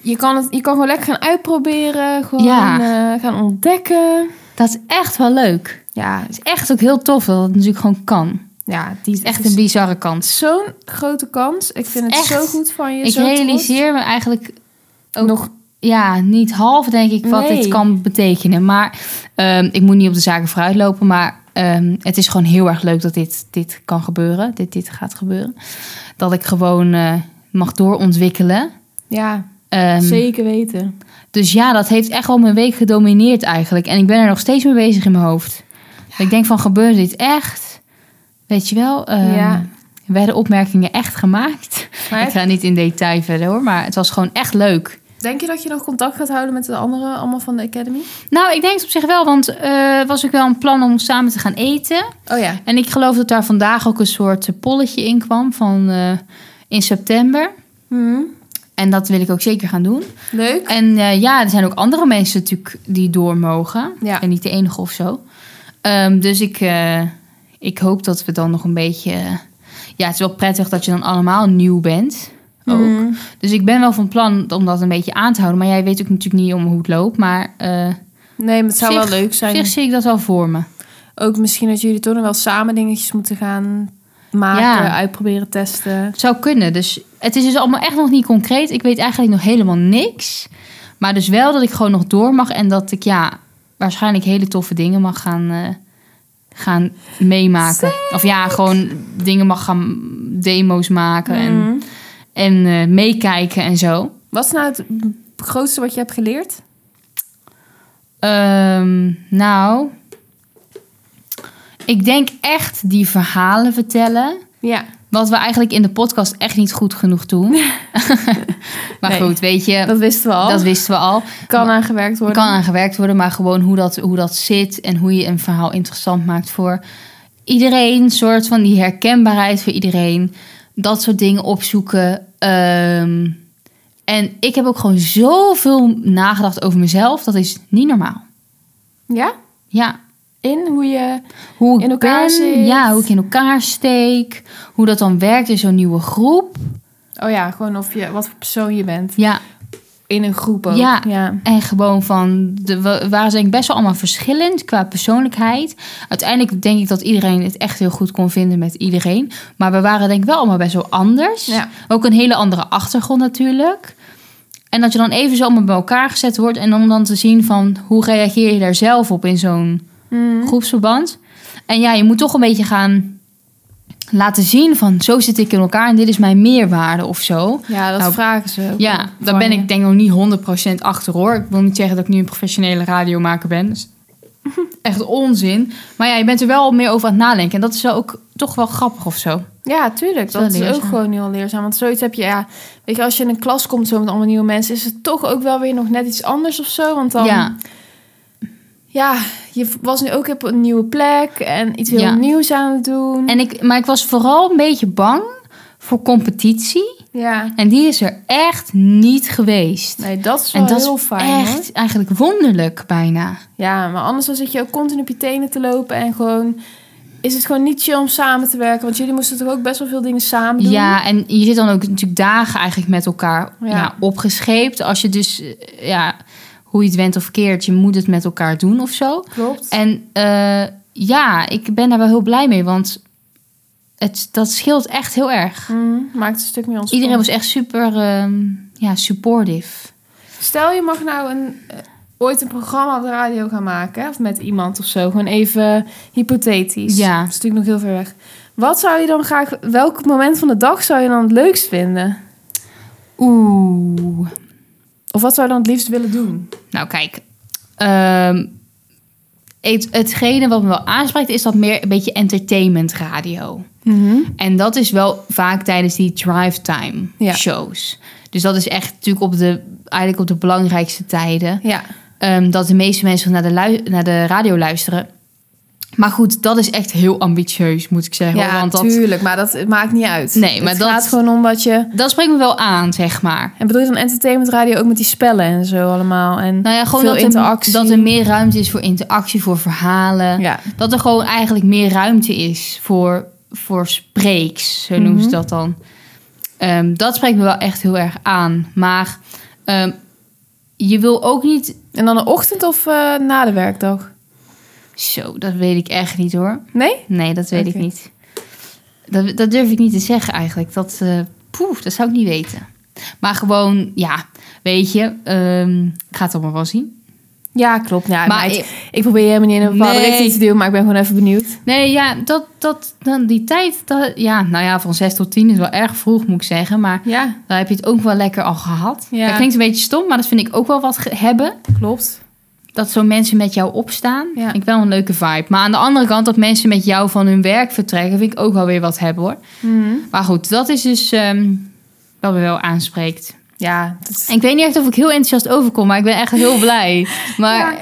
[SPEAKER 1] Je kan, het, je kan gewoon lekker gaan uitproberen, gewoon
[SPEAKER 2] Ja.
[SPEAKER 1] eh, gaan ontdekken.
[SPEAKER 2] Dat is echt wel leuk.
[SPEAKER 1] Ja,
[SPEAKER 2] Het is echt ook heel tof dat het natuurlijk gewoon kan. Het
[SPEAKER 1] ja die
[SPEAKER 2] is echt een bizarre kans.
[SPEAKER 1] zo'n grote kans. Ik vind het
[SPEAKER 2] Echt.
[SPEAKER 1] zo goed van je.
[SPEAKER 2] Ik
[SPEAKER 1] zo trots.
[SPEAKER 2] realiseer me eigenlijk ook
[SPEAKER 1] nog.
[SPEAKER 2] ja, niet half, denk ik, wat
[SPEAKER 1] Nee.
[SPEAKER 2] dit kan betekenen. Maar ehm, ik moet niet op de zaken vooruitlopen. Maar ehm, het is gewoon heel erg leuk dat dit, dit kan gebeuren. Dit, dit gaat gebeuren. Dat ik gewoon eh, mag doorontwikkelen.
[SPEAKER 1] Ja,
[SPEAKER 2] Ehm,
[SPEAKER 1] zeker weten.
[SPEAKER 2] dus ja, dat heeft echt al mijn week gedomineerd eigenlijk. En ik ben er nog steeds mee bezig in mijn hoofd. Ik denk van, gebeurt dit echt? Weet je wel? ehm,
[SPEAKER 1] Ja.
[SPEAKER 2] Werden opmerkingen echt gemaakt?
[SPEAKER 1] Maar
[SPEAKER 2] Ik ga niet in detail verder hoor, maar het was gewoon echt leuk.
[SPEAKER 1] denk je dat je nog contact gaat houden met de anderen, allemaal van de Academy?
[SPEAKER 2] Nou, ik denk het op zich wel, want eh was ook wel een plan om samen te gaan eten.
[SPEAKER 1] Oh ja.
[SPEAKER 2] En ik geloof dat daar vandaag ook een soort eh, polletje in kwam van eh, in september.
[SPEAKER 1] Hm,
[SPEAKER 2] En dat wil ik ook zeker gaan doen.
[SPEAKER 1] Leuk.
[SPEAKER 2] En eh, ja, er zijn ook andere mensen natuurlijk die door mogen.
[SPEAKER 1] Ja.
[SPEAKER 2] Ik ben niet de enige of zo. Ehm, dus ik, eh, ik hoop dat we dan nog een beetje... eh, Ja, het is wel prettig dat je dan allemaal nieuw bent. Ook.
[SPEAKER 1] Hm.
[SPEAKER 2] Dus ik ben wel van plan om dat een beetje aan te houden. Maar jij weet ook natuurlijk niet om hoe het loopt. Maar eh
[SPEAKER 1] Nee, maar het zou
[SPEAKER 2] Zich-
[SPEAKER 1] wel leuk
[SPEAKER 2] op
[SPEAKER 1] zijn.
[SPEAKER 2] zich zie ik dat wel voor me.
[SPEAKER 1] Ook misschien dat jullie toch nog wel samen dingetjes moeten gaan maken,
[SPEAKER 2] Ja.
[SPEAKER 1] uitproberen, testen.
[SPEAKER 2] Het zou kunnen. Dus het is dus allemaal echt nog niet concreet. Ik weet eigenlijk nog helemaal niks. Maar dus wel dat ik gewoon nog door mag. En dat ik ja, waarschijnlijk hele toffe dingen mag gaan, eh, gaan meemaken. Of ja, gewoon dingen mag gaan demo's maken. En,
[SPEAKER 1] Hm.
[SPEAKER 2] en eh, meekijken en zo.
[SPEAKER 1] Wat is nou het grootste wat je hebt geleerd?
[SPEAKER 2] Ehm, nou, ik denk echt die verhalen vertellen.
[SPEAKER 1] Ja.
[SPEAKER 2] Wat we eigenlijk in de podcast echt niet goed genoeg doen. maar
[SPEAKER 1] Nee.
[SPEAKER 2] goed, weet je, dat,
[SPEAKER 1] Dat wisten we al.
[SPEAKER 2] wisten we al.
[SPEAKER 1] kan aangewerkt
[SPEAKER 2] Er
[SPEAKER 1] worden.
[SPEAKER 2] kan aan gewerkt worden, maar gewoon hoe dat, hoe dat zit en hoe je een verhaal interessant maakt voor iedereen. Een soort van die herkenbaarheid voor iedereen. Dat soort dingen opzoeken. Ehm, en ik heb ook gewoon zoveel nagedacht over mezelf. Dat is niet normaal.
[SPEAKER 1] Ja?
[SPEAKER 2] Ja,
[SPEAKER 1] In hoe je...
[SPEAKER 2] hoe ik
[SPEAKER 1] In elkaar
[SPEAKER 2] ben,
[SPEAKER 1] zit.
[SPEAKER 2] ja, hoe ik in elkaar steek, hoe dat dan werkt in zo'n nieuwe groep.
[SPEAKER 1] Oh ja, gewoon of je, wat voor persoon je bent.
[SPEAKER 2] Ja,
[SPEAKER 1] In een groep ook.
[SPEAKER 2] Ja.
[SPEAKER 1] ja.
[SPEAKER 2] en gewoon van, de, we waren ze denk ik best wel allemaal verschillend qua persoonlijkheid. Uiteindelijk denk ik dat iedereen het echt heel goed kon vinden met iedereen. Maar we waren denk ik wel allemaal best wel anders.
[SPEAKER 1] Ja.
[SPEAKER 2] Ook een hele andere achtergrond natuurlijk. En dat je dan even zo allemaal bij elkaar gezet wordt. En om dan te zien van, hoe reageer je daar zelf op in zo'n
[SPEAKER 1] Hmm.
[SPEAKER 2] Mm-hmm. groepsverband. En ja, je moet toch een beetje gaan laten zien van zo zit ik in elkaar en dit is mijn meerwaarde of zo.
[SPEAKER 1] Ja, dat
[SPEAKER 2] Nou,
[SPEAKER 1] vragen ze. ook
[SPEAKER 2] Ja, daar
[SPEAKER 1] van
[SPEAKER 2] ben
[SPEAKER 1] je.
[SPEAKER 2] ik denk ik nog niet 100% achter hoor. Ik wil niet zeggen dat ik nu een professionele radiomaker ben. Dat is echt onzin. Maar ja, je bent er wel meer over aan het nadenken. En dat is wel ook toch wel grappig of zo.
[SPEAKER 1] Ja, tuurlijk.
[SPEAKER 2] Wel
[SPEAKER 1] Dat is ook
[SPEAKER 2] leerzaam.
[SPEAKER 1] gewoon heel leerzaam. Want zoiets heb je, ja... Weet je, als je in een klas komt zo met allemaal nieuwe mensen... is het toch ook wel weer nog net iets anders of zo. Want dan...
[SPEAKER 2] Ja,
[SPEAKER 1] ja, je was nu ook op een nieuwe plek... en iets heel
[SPEAKER 2] Ja.
[SPEAKER 1] nieuws aan het doen.
[SPEAKER 2] en ik, maar ik was vooral een beetje bang voor competitie.
[SPEAKER 1] Ja.
[SPEAKER 2] En die is er echt niet geweest.
[SPEAKER 1] Nee, dat is wel
[SPEAKER 2] En dat
[SPEAKER 1] heel
[SPEAKER 2] is
[SPEAKER 1] fijn, hoor.
[SPEAKER 2] echt eigenlijk wonderlijk bijna.
[SPEAKER 1] Ja, maar anders dan zit je ook continu op je tenen te lopen en gewoon is het gewoon niet chill om samen te werken? Want jullie moesten toch ook best wel veel dingen samen doen?
[SPEAKER 2] Ja, en je zit dan ook natuurlijk dagen eigenlijk met elkaar
[SPEAKER 1] Ja.
[SPEAKER 2] ja. opgescheept. Als je dus, eh, ja, hoe je het went of keert, je moet het met elkaar doen of zo.
[SPEAKER 1] Klopt.
[SPEAKER 2] En eh, ja, ik ben daar wel heel blij mee, want het, dat scheelt echt heel erg.
[SPEAKER 1] Mm, maakt het een stuk meer ons.
[SPEAKER 2] Iedereen was echt super ehm, ja, supportive.
[SPEAKER 1] Stel je mag nou een, eh, ooit een programma op de radio gaan maken. hè, Of met iemand of zo. Gewoon even hypothetisch.
[SPEAKER 2] Ja.
[SPEAKER 1] Dat is natuurlijk nog heel ver weg. Wat zou je dan graag... Welk moment van de dag zou je dan het leukst vinden?
[SPEAKER 2] Oeh.
[SPEAKER 1] Of wat zou je dan het liefst willen doen?
[SPEAKER 2] Nou, kijk. ehm, het, hetgene wat me wel aanspreekt is dat meer een beetje entertainment radio. En dat is wel vaak tijdens die drive time
[SPEAKER 1] Ja.
[SPEAKER 2] shows. Dus dat is echt natuurlijk op de, eigenlijk op de belangrijkste tijden.
[SPEAKER 1] Ja.
[SPEAKER 2] Ehm, dat de meeste mensen naar de, lui- naar de radio luisteren. Maar goed, dat is echt heel ambitieus, moet ik zeggen.
[SPEAKER 1] Ja,
[SPEAKER 2] want dat,
[SPEAKER 1] natuurlijk. Maar dat maakt niet uit.
[SPEAKER 2] Nee, maar
[SPEAKER 1] het
[SPEAKER 2] dat-
[SPEAKER 1] gaat gewoon om wat je...
[SPEAKER 2] dat spreekt me wel aan, zeg maar.
[SPEAKER 1] En bedoel je dan entertainment radio ook met die spellen en zo allemaal? En
[SPEAKER 2] Nou ja, gewoon
[SPEAKER 1] Veel
[SPEAKER 2] dat,
[SPEAKER 1] interactie.
[SPEAKER 2] Er, dat er meer ruimte is voor interactie, voor verhalen.
[SPEAKER 1] ja.
[SPEAKER 2] Dat er gewoon eigenlijk meer ruimte is voor, voor spreeks, zo noemen ze
[SPEAKER 1] Mhm.
[SPEAKER 2] dat dan. Ehm, dat spreekt me wel echt heel erg aan. Maar ehm, je wil ook niet...
[SPEAKER 1] En dan de ochtend of eh, na de werkdag?
[SPEAKER 2] Zo, dat weet ik echt niet hoor.
[SPEAKER 1] Nee?
[SPEAKER 2] Nee, dat weet
[SPEAKER 1] Oké.
[SPEAKER 2] ik niet. Dat, dat durf ik niet te zeggen eigenlijk. Dat, eh poef, dat zou ik niet weten. Maar gewoon, ja, weet je, ehm, ik ga het allemaal wel zien.
[SPEAKER 1] Ja, klopt. Ja,
[SPEAKER 2] Maar
[SPEAKER 1] meid,
[SPEAKER 2] ik-
[SPEAKER 1] ik, probeer je helemaal niet in een bepaalde
[SPEAKER 2] Nee.
[SPEAKER 1] richting te duwen, maar ik ben gewoon even benieuwd.
[SPEAKER 2] Nee, ja, dat, dat, dan die tijd, dat, ja, nou ja, van 6 tot 10 is wel erg vroeg, moet ik zeggen. Maar
[SPEAKER 1] Ja,
[SPEAKER 2] dan heb je het ook wel lekker al gehad.
[SPEAKER 1] Ja.
[SPEAKER 2] Dat klinkt een beetje stom, maar dat vind ik ook wel wat ge- hebben.
[SPEAKER 1] klopt.
[SPEAKER 2] Dat zo'n mensen met jou opstaan,
[SPEAKER 1] Ja.
[SPEAKER 2] vind ik wel een leuke vibe. Maar aan de andere kant, dat mensen met jou van hun werk vertrekken, vind ik ook wel weer wat hebben hoor.
[SPEAKER 1] Mhm.
[SPEAKER 2] Maar goed, dat is dus ehm, wat me wel aanspreekt.
[SPEAKER 1] Ja, dat is-
[SPEAKER 2] En ik weet niet echt of ik heel enthousiast overkom, maar ik ben echt heel blij. Maar
[SPEAKER 1] Ja,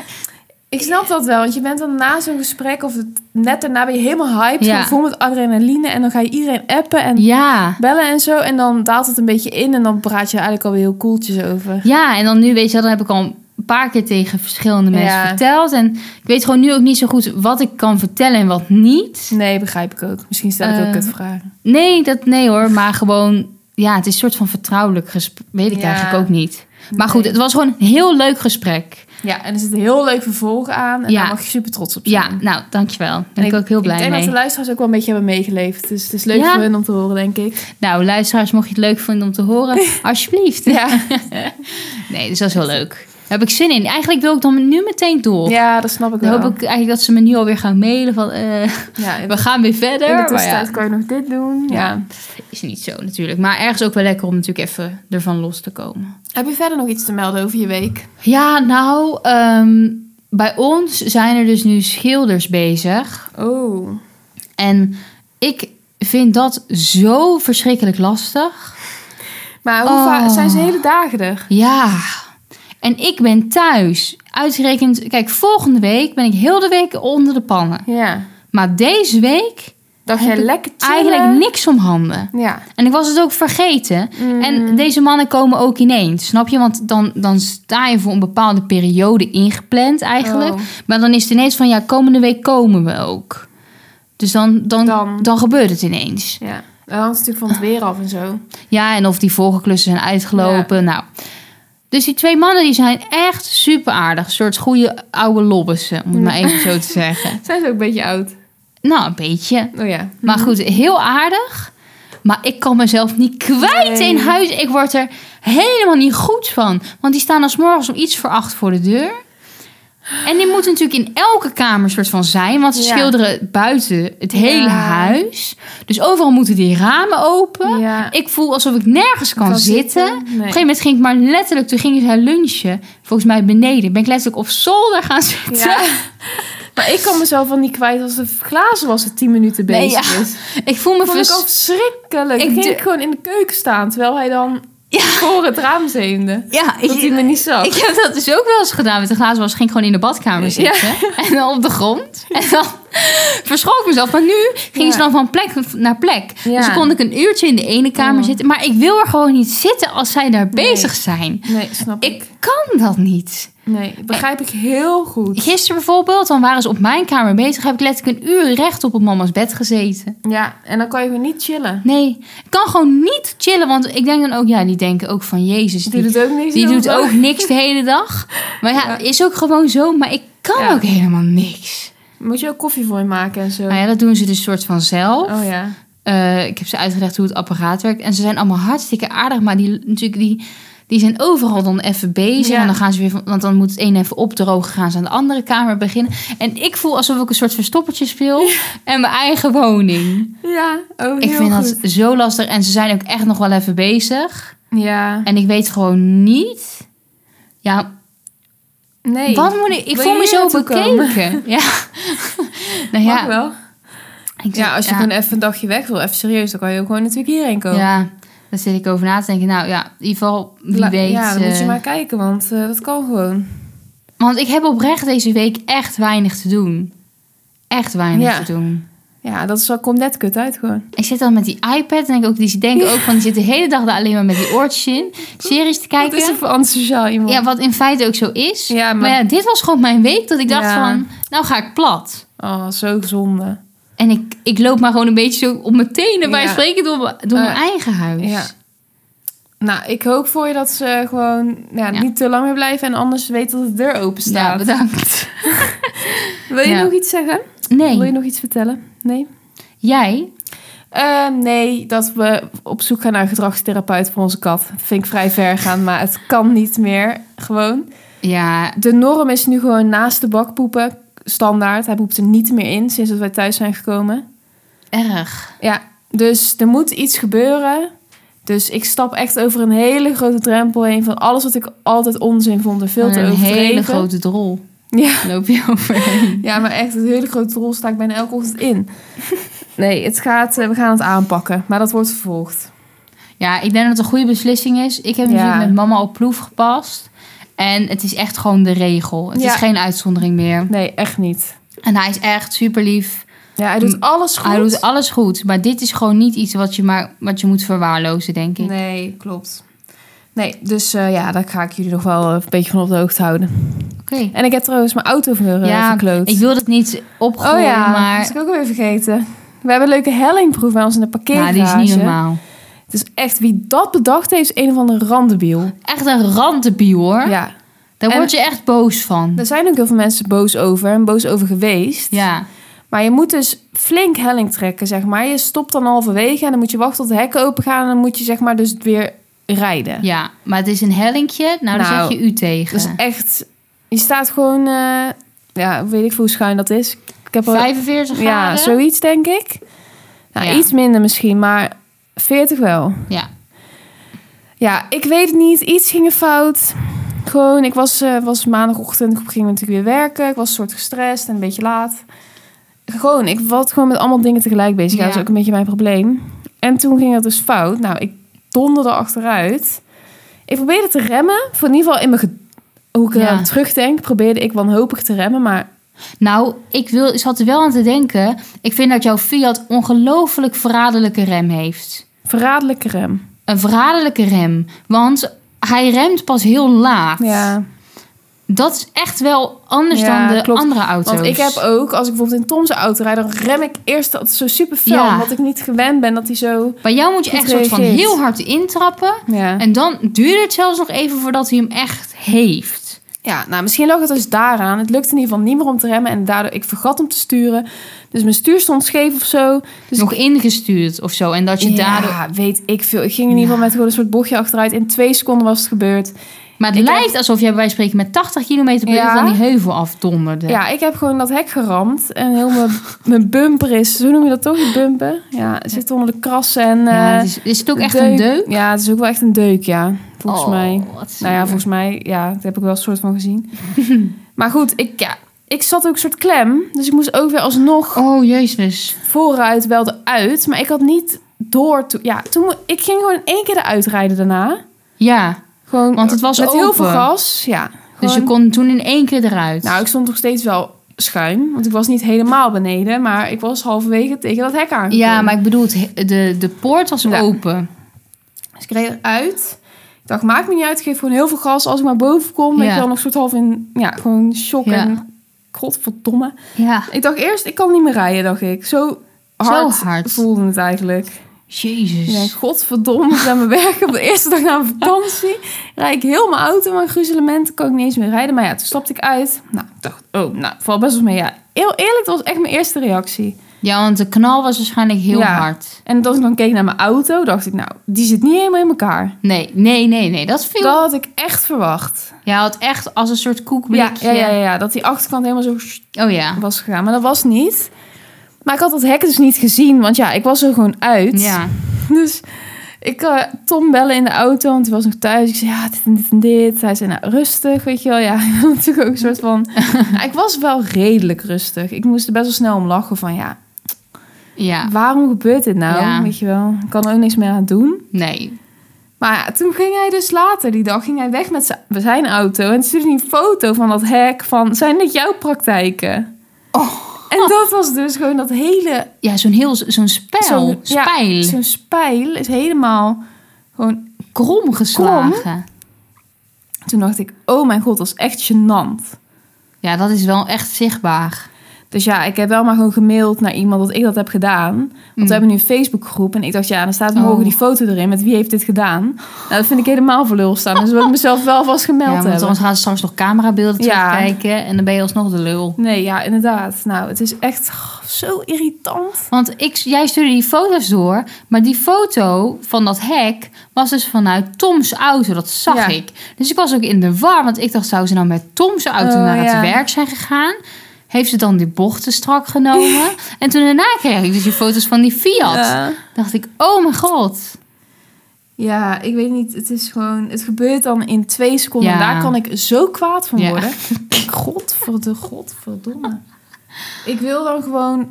[SPEAKER 1] ik snap dat wel, want je bent dan na zo'n gesprek of het, net daarna ben je helemaal hyped,
[SPEAKER 2] Ja.
[SPEAKER 1] gewoon vol met adrenaline en dan ga je iedereen appen en
[SPEAKER 2] ja.
[SPEAKER 1] bellen en zo en dan daalt het een beetje in en dan praat je er eigenlijk alweer heel koeltjes over.
[SPEAKER 2] ja, en dan nu weet je, wel, dan heb ik al een paar keer tegen verschillende mensen
[SPEAKER 1] Ja.
[SPEAKER 2] verteld. En ik weet gewoon nu ook niet zo goed wat ik kan vertellen en wat niet.
[SPEAKER 1] Nee, begrijp ik ook. Misschien stel ik
[SPEAKER 2] Eh,
[SPEAKER 1] ook kutvragen.
[SPEAKER 2] Nee, dat nee hoor, maar gewoon, ja, het is een soort van vertrouwelijk gesprek. Weet ik
[SPEAKER 1] Ja.
[SPEAKER 2] eigenlijk ook niet. Maar goed,
[SPEAKER 1] Nee.
[SPEAKER 2] het was gewoon een heel leuk gesprek.
[SPEAKER 1] Ja, en er zit een heel leuk vervolg aan en
[SPEAKER 2] Ja.
[SPEAKER 1] daar mag je super trots op zijn.
[SPEAKER 2] Ja, nou, dankjewel. Daar ben
[SPEAKER 1] En
[SPEAKER 2] ik, ook heel blij
[SPEAKER 1] Ik denk
[SPEAKER 2] mee.
[SPEAKER 1] dat de luisteraars ook wel een beetje hebben meegeleefd. Dus het is leuk
[SPEAKER 2] Ja.
[SPEAKER 1] voor hen om te horen, denk ik.
[SPEAKER 2] Nou, luisteraars, mocht je het leuk vinden om te horen, alsjeblieft.
[SPEAKER 1] Ja.
[SPEAKER 2] Nee, dus dat is wel leuk. Daar heb ik zin in. Eigenlijk wil ik dan nu meteen door.
[SPEAKER 1] Ja, dat snap ik
[SPEAKER 2] Dan
[SPEAKER 1] wel.
[SPEAKER 2] hoop ik eigenlijk Oh. dat ze me nu alweer gaan mailen van... eh,
[SPEAKER 1] ja, in,
[SPEAKER 2] we gaan weer verder.
[SPEAKER 1] in de
[SPEAKER 2] maar
[SPEAKER 1] tussentijd
[SPEAKER 2] ja,
[SPEAKER 1] kan je nog dit doen. Ja.
[SPEAKER 2] Ja. is niet zo natuurlijk. Maar ergens ook wel lekker om natuurlijk even ervan los te komen.
[SPEAKER 1] Heb je verder nog iets te melden over je week?
[SPEAKER 2] Ja, nou, ehm, bij ons zijn er dus nu schilders bezig.
[SPEAKER 1] Oh.
[SPEAKER 2] En ik vind dat zo verschrikkelijk lastig.
[SPEAKER 1] Maar hoe
[SPEAKER 2] Oh.
[SPEAKER 1] vaak zijn ze hele dagen er?
[SPEAKER 2] Ja, en ik ben thuis. Uitgerekend, kijk, volgende week ben ik heel de week onder de pannen.
[SPEAKER 1] Ja.
[SPEAKER 2] Maar deze week
[SPEAKER 1] Dat
[SPEAKER 2] Heb
[SPEAKER 1] jij
[SPEAKER 2] ik
[SPEAKER 1] lekker chillen.
[SPEAKER 2] eigenlijk niks om handen.
[SPEAKER 1] Ja.
[SPEAKER 2] En ik was het ook vergeten.
[SPEAKER 1] Mm.
[SPEAKER 2] En deze mannen komen ook ineens, snap je? Want dan, dan sta je voor een bepaalde periode ingepland eigenlijk.
[SPEAKER 1] Oh.
[SPEAKER 2] Maar dan is het ineens van, ja, komende week komen we ook. Dus dan, dan,
[SPEAKER 1] Dan.
[SPEAKER 2] dan. gebeurt het ineens.
[SPEAKER 1] Ja. Dat hangt natuurlijk van het weer af en zo.
[SPEAKER 2] Ja, en of die vorige klussen zijn uitgelopen. Nou, dus die twee mannen die zijn echt super aardig. Een soort goede oude lobbissen, om het maar even zo te zeggen.
[SPEAKER 1] Zijn ze ook een beetje oud?
[SPEAKER 2] Nou, een beetje.
[SPEAKER 1] Oh ja.
[SPEAKER 2] Maar goed, heel aardig. Maar ik kan mezelf niet kwijt
[SPEAKER 1] Nee.
[SPEAKER 2] in huis. Ik word er helemaal niet goed van. Want die staan als morgens om iets voor acht voor de deur. En die moeten natuurlijk in elke kamer soort van zijn. Want ze
[SPEAKER 1] Ja.
[SPEAKER 2] schilderen buiten het hele
[SPEAKER 1] Ja.
[SPEAKER 2] huis. Dus overal moeten die ramen open.
[SPEAKER 1] Ja.
[SPEAKER 2] Ik voel alsof ik nergens kan, zitten. Op
[SPEAKER 1] Nee.
[SPEAKER 2] een gegeven moment ging ik maar letterlijk... Toen gingen zij lunchen, volgens mij beneden. Ben ik letterlijk op zolder gaan zitten.
[SPEAKER 1] Ja. maar ik kan mezelf al niet kwijt als de glazen was het 10 minuten
[SPEAKER 2] Nee,
[SPEAKER 1] bezig
[SPEAKER 2] ja.
[SPEAKER 1] is.
[SPEAKER 2] Ik voel me
[SPEAKER 1] Dat vond ik
[SPEAKER 2] vers-
[SPEAKER 1] al verschrikkelijk.
[SPEAKER 2] Ik
[SPEAKER 1] Ik ging
[SPEAKER 2] du-
[SPEAKER 1] ik gewoon in de keuken staan, terwijl hij dan voor het raam zeemde.
[SPEAKER 2] Ja,
[SPEAKER 1] Dat hij me niet zag.
[SPEAKER 2] Ik heb dat dus ook wel eens gedaan met de glazen was. Ging ik gewoon in de badkamer zitten. En dan op de grond. En dan verschoot ik mezelf. Maar nu gingen
[SPEAKER 1] Ja.
[SPEAKER 2] ze dan van plek naar plek.
[SPEAKER 1] Ja.
[SPEAKER 2] Dus dan kon ik een uurtje in de ene kamer
[SPEAKER 1] Oh.
[SPEAKER 2] zitten. Maar ik wil er gewoon niet zitten als zij daar bezig zijn.
[SPEAKER 1] Nee, snap ik.
[SPEAKER 2] Ik kan dat niet.
[SPEAKER 1] Nee, begrijp ik heel goed.
[SPEAKER 2] Gisteren bijvoorbeeld, dan waren ze op mijn kamer bezig. Heb ik letterlijk een uur rechtop op mama's bed gezeten.
[SPEAKER 1] Ja, en dan kan je weer niet chillen.
[SPEAKER 2] Nee, ik kan gewoon niet chillen. Want ik denk dan ook, ja, die denken ook van Jezus.
[SPEAKER 1] Dus Die
[SPEAKER 2] Die,
[SPEAKER 1] doet ook niks.
[SPEAKER 2] die
[SPEAKER 1] de hele
[SPEAKER 2] doet
[SPEAKER 1] dag.
[SPEAKER 2] ook niks de hele dag. Maar ja,
[SPEAKER 1] Ja.
[SPEAKER 2] is ook gewoon zo. Maar ik kan
[SPEAKER 1] Ja.
[SPEAKER 2] ook helemaal niks.
[SPEAKER 1] Moet je ook koffie voor je maken en zo.
[SPEAKER 2] Nou ja, dat doen ze dus soort van zelf.
[SPEAKER 1] Oh ja.
[SPEAKER 2] Eh, ik heb ze uitgelegd hoe het apparaat werkt. En ze zijn allemaal hartstikke aardig. Maar die, natuurlijk, die, die zijn overal dan even bezig.
[SPEAKER 1] Ja.
[SPEAKER 2] En dan gaan ze weer van, want dan moet het een even opdrogen. Gaan ze aan de andere kamer beginnen. En ik voel alsof ik een soort verstoppertje speel. En mijn eigen woning.
[SPEAKER 1] Ja, oh,
[SPEAKER 2] Ik
[SPEAKER 1] heel
[SPEAKER 2] vind
[SPEAKER 1] goed.
[SPEAKER 2] dat zo lastig. En ze zijn ook echt nog wel even bezig.
[SPEAKER 1] Ja.
[SPEAKER 2] En ik weet gewoon niet. Ja,
[SPEAKER 1] Nee.
[SPEAKER 2] wat moet ik? Ik
[SPEAKER 1] Wil
[SPEAKER 2] voel
[SPEAKER 1] je
[SPEAKER 2] me
[SPEAKER 1] hier
[SPEAKER 2] zo
[SPEAKER 1] naartoe komen?
[SPEAKER 2] bekeken. Ja. nou
[SPEAKER 1] Mag
[SPEAKER 2] ja,
[SPEAKER 1] wel.
[SPEAKER 2] ik zeg-
[SPEAKER 1] Ja, als je
[SPEAKER 2] ja.
[SPEAKER 1] gewoon even een dagje weg wil, even serieus, dan kan je ook gewoon natuurlijk hierheen komen.
[SPEAKER 2] Ja, daar zit ik over na te denken. Nou ja, in ieder geval, wie
[SPEAKER 1] La-
[SPEAKER 2] weet.
[SPEAKER 1] Ja, dan moet je
[SPEAKER 2] eh,
[SPEAKER 1] maar kijken, want eh, dat kan gewoon.
[SPEAKER 2] Want ik heb oprecht deze week echt weinig te doen. Echt weinig
[SPEAKER 1] Ja.
[SPEAKER 2] te doen.
[SPEAKER 1] Ja, dat is wel, komt net kut uit gewoon.
[SPEAKER 2] Ik zit dan met die iPad en ik ook, die denken ook van, die zit de hele dag daar alleen maar met die oortjes in. Series te
[SPEAKER 1] Wat is er
[SPEAKER 2] kijken.
[SPEAKER 1] voor antisociaal iemand?
[SPEAKER 2] Ja, wat in feite ook zo is.
[SPEAKER 1] Ja,
[SPEAKER 2] maar...
[SPEAKER 1] maar-
[SPEAKER 2] ja, dit was gewoon mijn week dat ik dacht
[SPEAKER 1] Ja.
[SPEAKER 2] van, nou ga ik plat.
[SPEAKER 1] Oh, zo zonde.
[SPEAKER 2] En ik, ik loop maar gewoon een beetje zo op mijn tenen bij
[SPEAKER 1] Ja.
[SPEAKER 2] spreken door, mijn- door
[SPEAKER 1] Eh,
[SPEAKER 2] mijn eigen huis.
[SPEAKER 1] ja. Nou, ik hoop voor je dat ze gewoon ja,
[SPEAKER 2] Ja.
[SPEAKER 1] niet te lang meer blijven en anders weet dat de deur open
[SPEAKER 2] ja
[SPEAKER 1] staat.
[SPEAKER 2] bedankt.
[SPEAKER 1] Wil je
[SPEAKER 2] Ja.
[SPEAKER 1] nog iets zeggen? Wil je
[SPEAKER 2] Nee,
[SPEAKER 1] nog iets vertellen? Nee?
[SPEAKER 2] jij?
[SPEAKER 1] Eh, nee, dat we op zoek gaan naar een gedragstherapeut voor onze kat. Dat vind ik vrij ver gaan, maar het kan niet meer. Gewoon.
[SPEAKER 2] Ja,
[SPEAKER 1] De norm is nu gewoon naast de bak poepen. Standaard. Hij poept er niet meer in sinds dat wij thuis zijn gekomen.
[SPEAKER 2] erg.
[SPEAKER 1] Ja, dus er moet iets gebeuren. Dus ik stap echt over een hele grote drempel heen van alles wat ik altijd onzin vond en veel
[SPEAKER 2] Van
[SPEAKER 1] te
[SPEAKER 2] een
[SPEAKER 1] overdreven.
[SPEAKER 2] hele grote drol
[SPEAKER 1] Ja.
[SPEAKER 2] loop je overheen.
[SPEAKER 1] Ja, maar echt, een hele grote rol sta ik bijna elke ochtend in. Nee, het gaat, eh, we gaan het aanpakken, maar dat wordt vervolgd.
[SPEAKER 2] Ja, ik denk dat het een goede beslissing is. Ik heb
[SPEAKER 1] Ja.
[SPEAKER 2] natuurlijk met mama op ploef gepast. En het is echt gewoon de regel. Het
[SPEAKER 1] Ja.
[SPEAKER 2] is geen uitzondering meer.
[SPEAKER 1] Nee, echt niet.
[SPEAKER 2] En hij is echt super lief.
[SPEAKER 1] Ja, hij doet alles goed.
[SPEAKER 2] Mm. Hij doet alles goed. Maar dit is gewoon niet iets wat je, maar, wat je moet verwaarlozen, denk ik.
[SPEAKER 1] Nee, klopt. Nee, dus eh, ja, daar ga ik jullie nog wel eh, een beetje van op de hoogte houden.
[SPEAKER 2] Oké.
[SPEAKER 1] En ik heb trouwens mijn auto ver, eh,
[SPEAKER 2] Ja,
[SPEAKER 1] verkloot.
[SPEAKER 2] Ik wil het niet opgooien,
[SPEAKER 1] oh ja, dat
[SPEAKER 2] maar
[SPEAKER 1] is ook weer vergeten. We hebben een leuke hellingproef bij ons in de
[SPEAKER 2] ja,
[SPEAKER 1] parkeergarage.
[SPEAKER 2] Nou, die is niet normaal.
[SPEAKER 1] Het is echt, wie dat bedacht heeft, is een of andere randebiel.
[SPEAKER 2] Echt een randebiel hoor.
[SPEAKER 1] Ja,
[SPEAKER 2] Daar
[SPEAKER 1] En-
[SPEAKER 2] word je echt boos van.
[SPEAKER 1] er zijn ook heel veel mensen boos over en boos over geweest.
[SPEAKER 2] Ja.
[SPEAKER 1] Maar je moet dus flink helling trekken, zeg maar. Je stopt dan halverwege en dan moet je wachten tot de hekken open gaan. En dan moet je zeg maar dus weer rijden.
[SPEAKER 2] ja, maar het is een hellinkje. Nou, daar
[SPEAKER 1] Nou,
[SPEAKER 2] zeg je u tegen.
[SPEAKER 1] Dus echt, je staat gewoon, eh, ja, weet ik veel hoe schuin dat is. Ik heb al-
[SPEAKER 2] 45 graden.
[SPEAKER 1] ja, zoiets denk ik. Nou,
[SPEAKER 2] Ja.
[SPEAKER 1] iets minder misschien, maar 40 wel.
[SPEAKER 2] Ja.
[SPEAKER 1] Ja, ik weet het niet. Iets ging er fout. Gewoon, ik was, eh, was maandagochtend, ik ging natuurlijk weer werken. Ik was een soort gestrest en een beetje laat. Gewoon, ik was gewoon met allemaal dingen tegelijk bezig. Ja, dat
[SPEAKER 2] Ja.
[SPEAKER 1] is ook een beetje mijn probleem. En toen ging dat dus fout. Nou, ik donderde achteruit. Ik probeerde te remmen. Voor in ieder geval in mijn... ge- Hoe ik
[SPEAKER 2] Ja.
[SPEAKER 1] eraan terugdenk, probeerde ik wanhopig te remmen. Maar
[SPEAKER 2] Nou, ik wil, ik zat er wel aan te denken. Ik vind dat jouw Fiat ongelooflijk verraderlijke rem heeft.
[SPEAKER 1] verraderlijke rem.
[SPEAKER 2] Een verraderlijke rem. Want hij remt pas heel laat.
[SPEAKER 1] Ja,
[SPEAKER 2] Dat is echt wel anders
[SPEAKER 1] Ja,
[SPEAKER 2] dan de
[SPEAKER 1] klopt.
[SPEAKER 2] andere auto's.
[SPEAKER 1] want ik heb ook, als ik bijvoorbeeld in Tom's auto rijd... dan rem ik eerst altijd zo super fel.
[SPEAKER 2] Ja.
[SPEAKER 1] Omdat ik niet gewend ben dat hij zo...
[SPEAKER 2] Bij jou moet je
[SPEAKER 1] goed
[SPEAKER 2] echt soort van
[SPEAKER 1] reageert.
[SPEAKER 2] heel hard intrappen.
[SPEAKER 1] Ja.
[SPEAKER 2] En dan duurt het zelfs nog even voordat hij hem echt heeft.
[SPEAKER 1] Ja, nou misschien lag het dus daaraan. Het lukte in ieder geval niet meer om te remmen en daardoor ik vergat om te sturen. Dus mijn stuur stond scheef of zo. Dus
[SPEAKER 2] nog ingestuurd of zo. En dat je
[SPEAKER 1] ja,
[SPEAKER 2] daardoor...
[SPEAKER 1] weet ik veel. Ik ging in ieder geval met gewoon een soort bochtje achteruit. In twee seconden was het gebeurd.
[SPEAKER 2] Maar het
[SPEAKER 1] Ik
[SPEAKER 2] lijkt alsof jij bij wijze van spreken met 80 km per uur
[SPEAKER 1] Ja.
[SPEAKER 2] van die heuvel afdonderde.
[SPEAKER 1] Ja, ik heb gewoon dat hek geramd en heel mijn, mijn bumper is. Hoe noem je dat toch? Je bumper? Ja, het zit onder de krassen en.
[SPEAKER 2] Ja,
[SPEAKER 1] eh,
[SPEAKER 2] het is, is het ook echt een deuk?
[SPEAKER 1] Ja, het is ook wel echt een deuk, ja. Volgens
[SPEAKER 2] Oh,
[SPEAKER 1] mij.
[SPEAKER 2] wat
[SPEAKER 1] Nou ja,
[SPEAKER 2] zielig.
[SPEAKER 1] volgens mij, ja, dat heb ik wel een soort van gezien. maar goed, ik, ja, ik zat ook een soort klem. Dus ik moest ook weer alsnog
[SPEAKER 2] Oh, jezus.
[SPEAKER 1] vooruit wel eruit, maar ik had niet door. To ja, toen mo- ik ging gewoon in één keer eruit rijden daarna.
[SPEAKER 2] Ja,
[SPEAKER 1] Gewoon
[SPEAKER 2] Want het was
[SPEAKER 1] met heel
[SPEAKER 2] open.
[SPEAKER 1] veel gas. Ja,
[SPEAKER 2] dus je
[SPEAKER 1] gewoon-
[SPEAKER 2] kon toen in één keer eruit.
[SPEAKER 1] Nou, ik stond nog steeds wel schuin, want ik was niet helemaal beneden, maar ik was halverwege tegen dat hek aan.
[SPEAKER 2] ja, maar ik bedoel, het he- de, de poort was
[SPEAKER 1] Ja.
[SPEAKER 2] open.
[SPEAKER 1] dus ik reed eruit. Ik dacht, maakt me niet uit. Ik geef gewoon heel veel gas. Als ik maar boven kom, ben
[SPEAKER 2] Ja.
[SPEAKER 1] ik dan nog soort half in... Ja, gewoon shock
[SPEAKER 2] Ja.
[SPEAKER 1] en godverdomme.
[SPEAKER 2] Ja.
[SPEAKER 1] Ik dacht eerst, ik kan niet meer rijden, dacht ik. Zo hard,
[SPEAKER 2] hard.
[SPEAKER 1] voelde het eigenlijk. Ik denk,
[SPEAKER 2] Jezus.
[SPEAKER 1] godverdomme, ik ben mijn werk op de eerste dag na mijn vakantie. Rijd ik heel mijn auto, mijn gruzelementen, kan ik niet eens meer rijden. Maar ja, toen stapte ik uit. Nou, ik dacht, oh, nou, valt best wel mee. Ja, heel eerlijk, dat was echt mijn eerste reactie.
[SPEAKER 2] Ja, want de knal was waarschijnlijk heel
[SPEAKER 1] Ja.
[SPEAKER 2] hard.
[SPEAKER 1] En als ik dan keek naar mijn auto, dacht ik, nou, die zit niet helemaal in elkaar.
[SPEAKER 2] Nee, nee, nee, nee. Dat viel.
[SPEAKER 1] Dat had ik echt verwacht.
[SPEAKER 2] Je had echt als een soort
[SPEAKER 1] Ja,
[SPEAKER 2] koekblikje.
[SPEAKER 1] ja, ja, ja, dat die achterkant helemaal zo
[SPEAKER 2] Oh ja.
[SPEAKER 1] was gegaan. Maar dat was niet. Maar ik had dat hek dus niet gezien, want ja, ik was er gewoon uit.
[SPEAKER 2] Ja.
[SPEAKER 1] Dus ik eh Tom bellen in de auto, want hij was nog thuis. Ik zei, ja, dit en dit en dit. Hij zei, nou, rustig, weet je wel. Ja, ik was natuurlijk ook een soort van... Ja, ik was wel redelijk rustig. Ik moest er best wel snel om lachen van, ja,
[SPEAKER 2] Ja.
[SPEAKER 1] waarom gebeurt dit nou?
[SPEAKER 2] Ah. Ja.
[SPEAKER 1] Weet je wel, ik kan er ook niks meer aan doen.
[SPEAKER 2] Nee.
[SPEAKER 1] Maar ja, toen ging hij dus later, die dag, ging hij weg met zijn- met zijn auto. En toen stuurde hij een foto van dat hek van, zijn dit jouw praktijken? En dat was dus gewoon dat hele
[SPEAKER 2] Ja, zo'n heel zo'n spijl.
[SPEAKER 1] Zo'n- ja,
[SPEAKER 2] spijl.
[SPEAKER 1] Zo'n spijl is helemaal gewoon...
[SPEAKER 2] krom geslagen.
[SPEAKER 1] Toen dacht ik, oh mijn god, dat is echt gênant.
[SPEAKER 2] Ja, dat is wel echt zichtbaar.
[SPEAKER 1] Dus ja, ik heb wel maar gewoon gemaild naar iemand dat ik dat heb gedaan. Want
[SPEAKER 2] Mm.
[SPEAKER 1] we hebben nu een Facebookgroep. En ik dacht, ja, dan staat
[SPEAKER 2] Oh.
[SPEAKER 1] morgen die foto erin. Met wie heeft dit gedaan? Nou, dat vind ik helemaal voor lul staan. Dus wil ik mezelf wel vast gemeld
[SPEAKER 2] ja, want
[SPEAKER 1] hebben.
[SPEAKER 2] anders gaan ze straks nog camerabeelden
[SPEAKER 1] Ja.
[SPEAKER 2] terugkijken en dan ben je alsnog de lul.
[SPEAKER 1] Nee, ja, inderdaad. Nou, het is echt oh, zo irritant.
[SPEAKER 2] Want ik, jij stuurde die foto's door, maar die foto van dat hek was dus vanuit Toms auto. Dat zag
[SPEAKER 1] Ja.
[SPEAKER 2] ik. Dus ik was ook in de war, want ik dacht, zou ze nou met Toms auto
[SPEAKER 1] Oh,
[SPEAKER 2] naar
[SPEAKER 1] ja.
[SPEAKER 2] het werk zijn gegaan? Heeft ze dan die bochten strak genomen? en toen daarna kreeg ik dus die foto's van die Fiat.
[SPEAKER 1] Ja.
[SPEAKER 2] Dacht ik, oh mijn god.
[SPEAKER 1] Ja, ik weet niet. Het is gewoon... Het gebeurt dan in twee seconden.
[SPEAKER 2] Ja.
[SPEAKER 1] Daar kan ik zo kwaad van
[SPEAKER 2] Ja.
[SPEAKER 1] worden. Godverde, godverdomme. Ik wil dan gewoon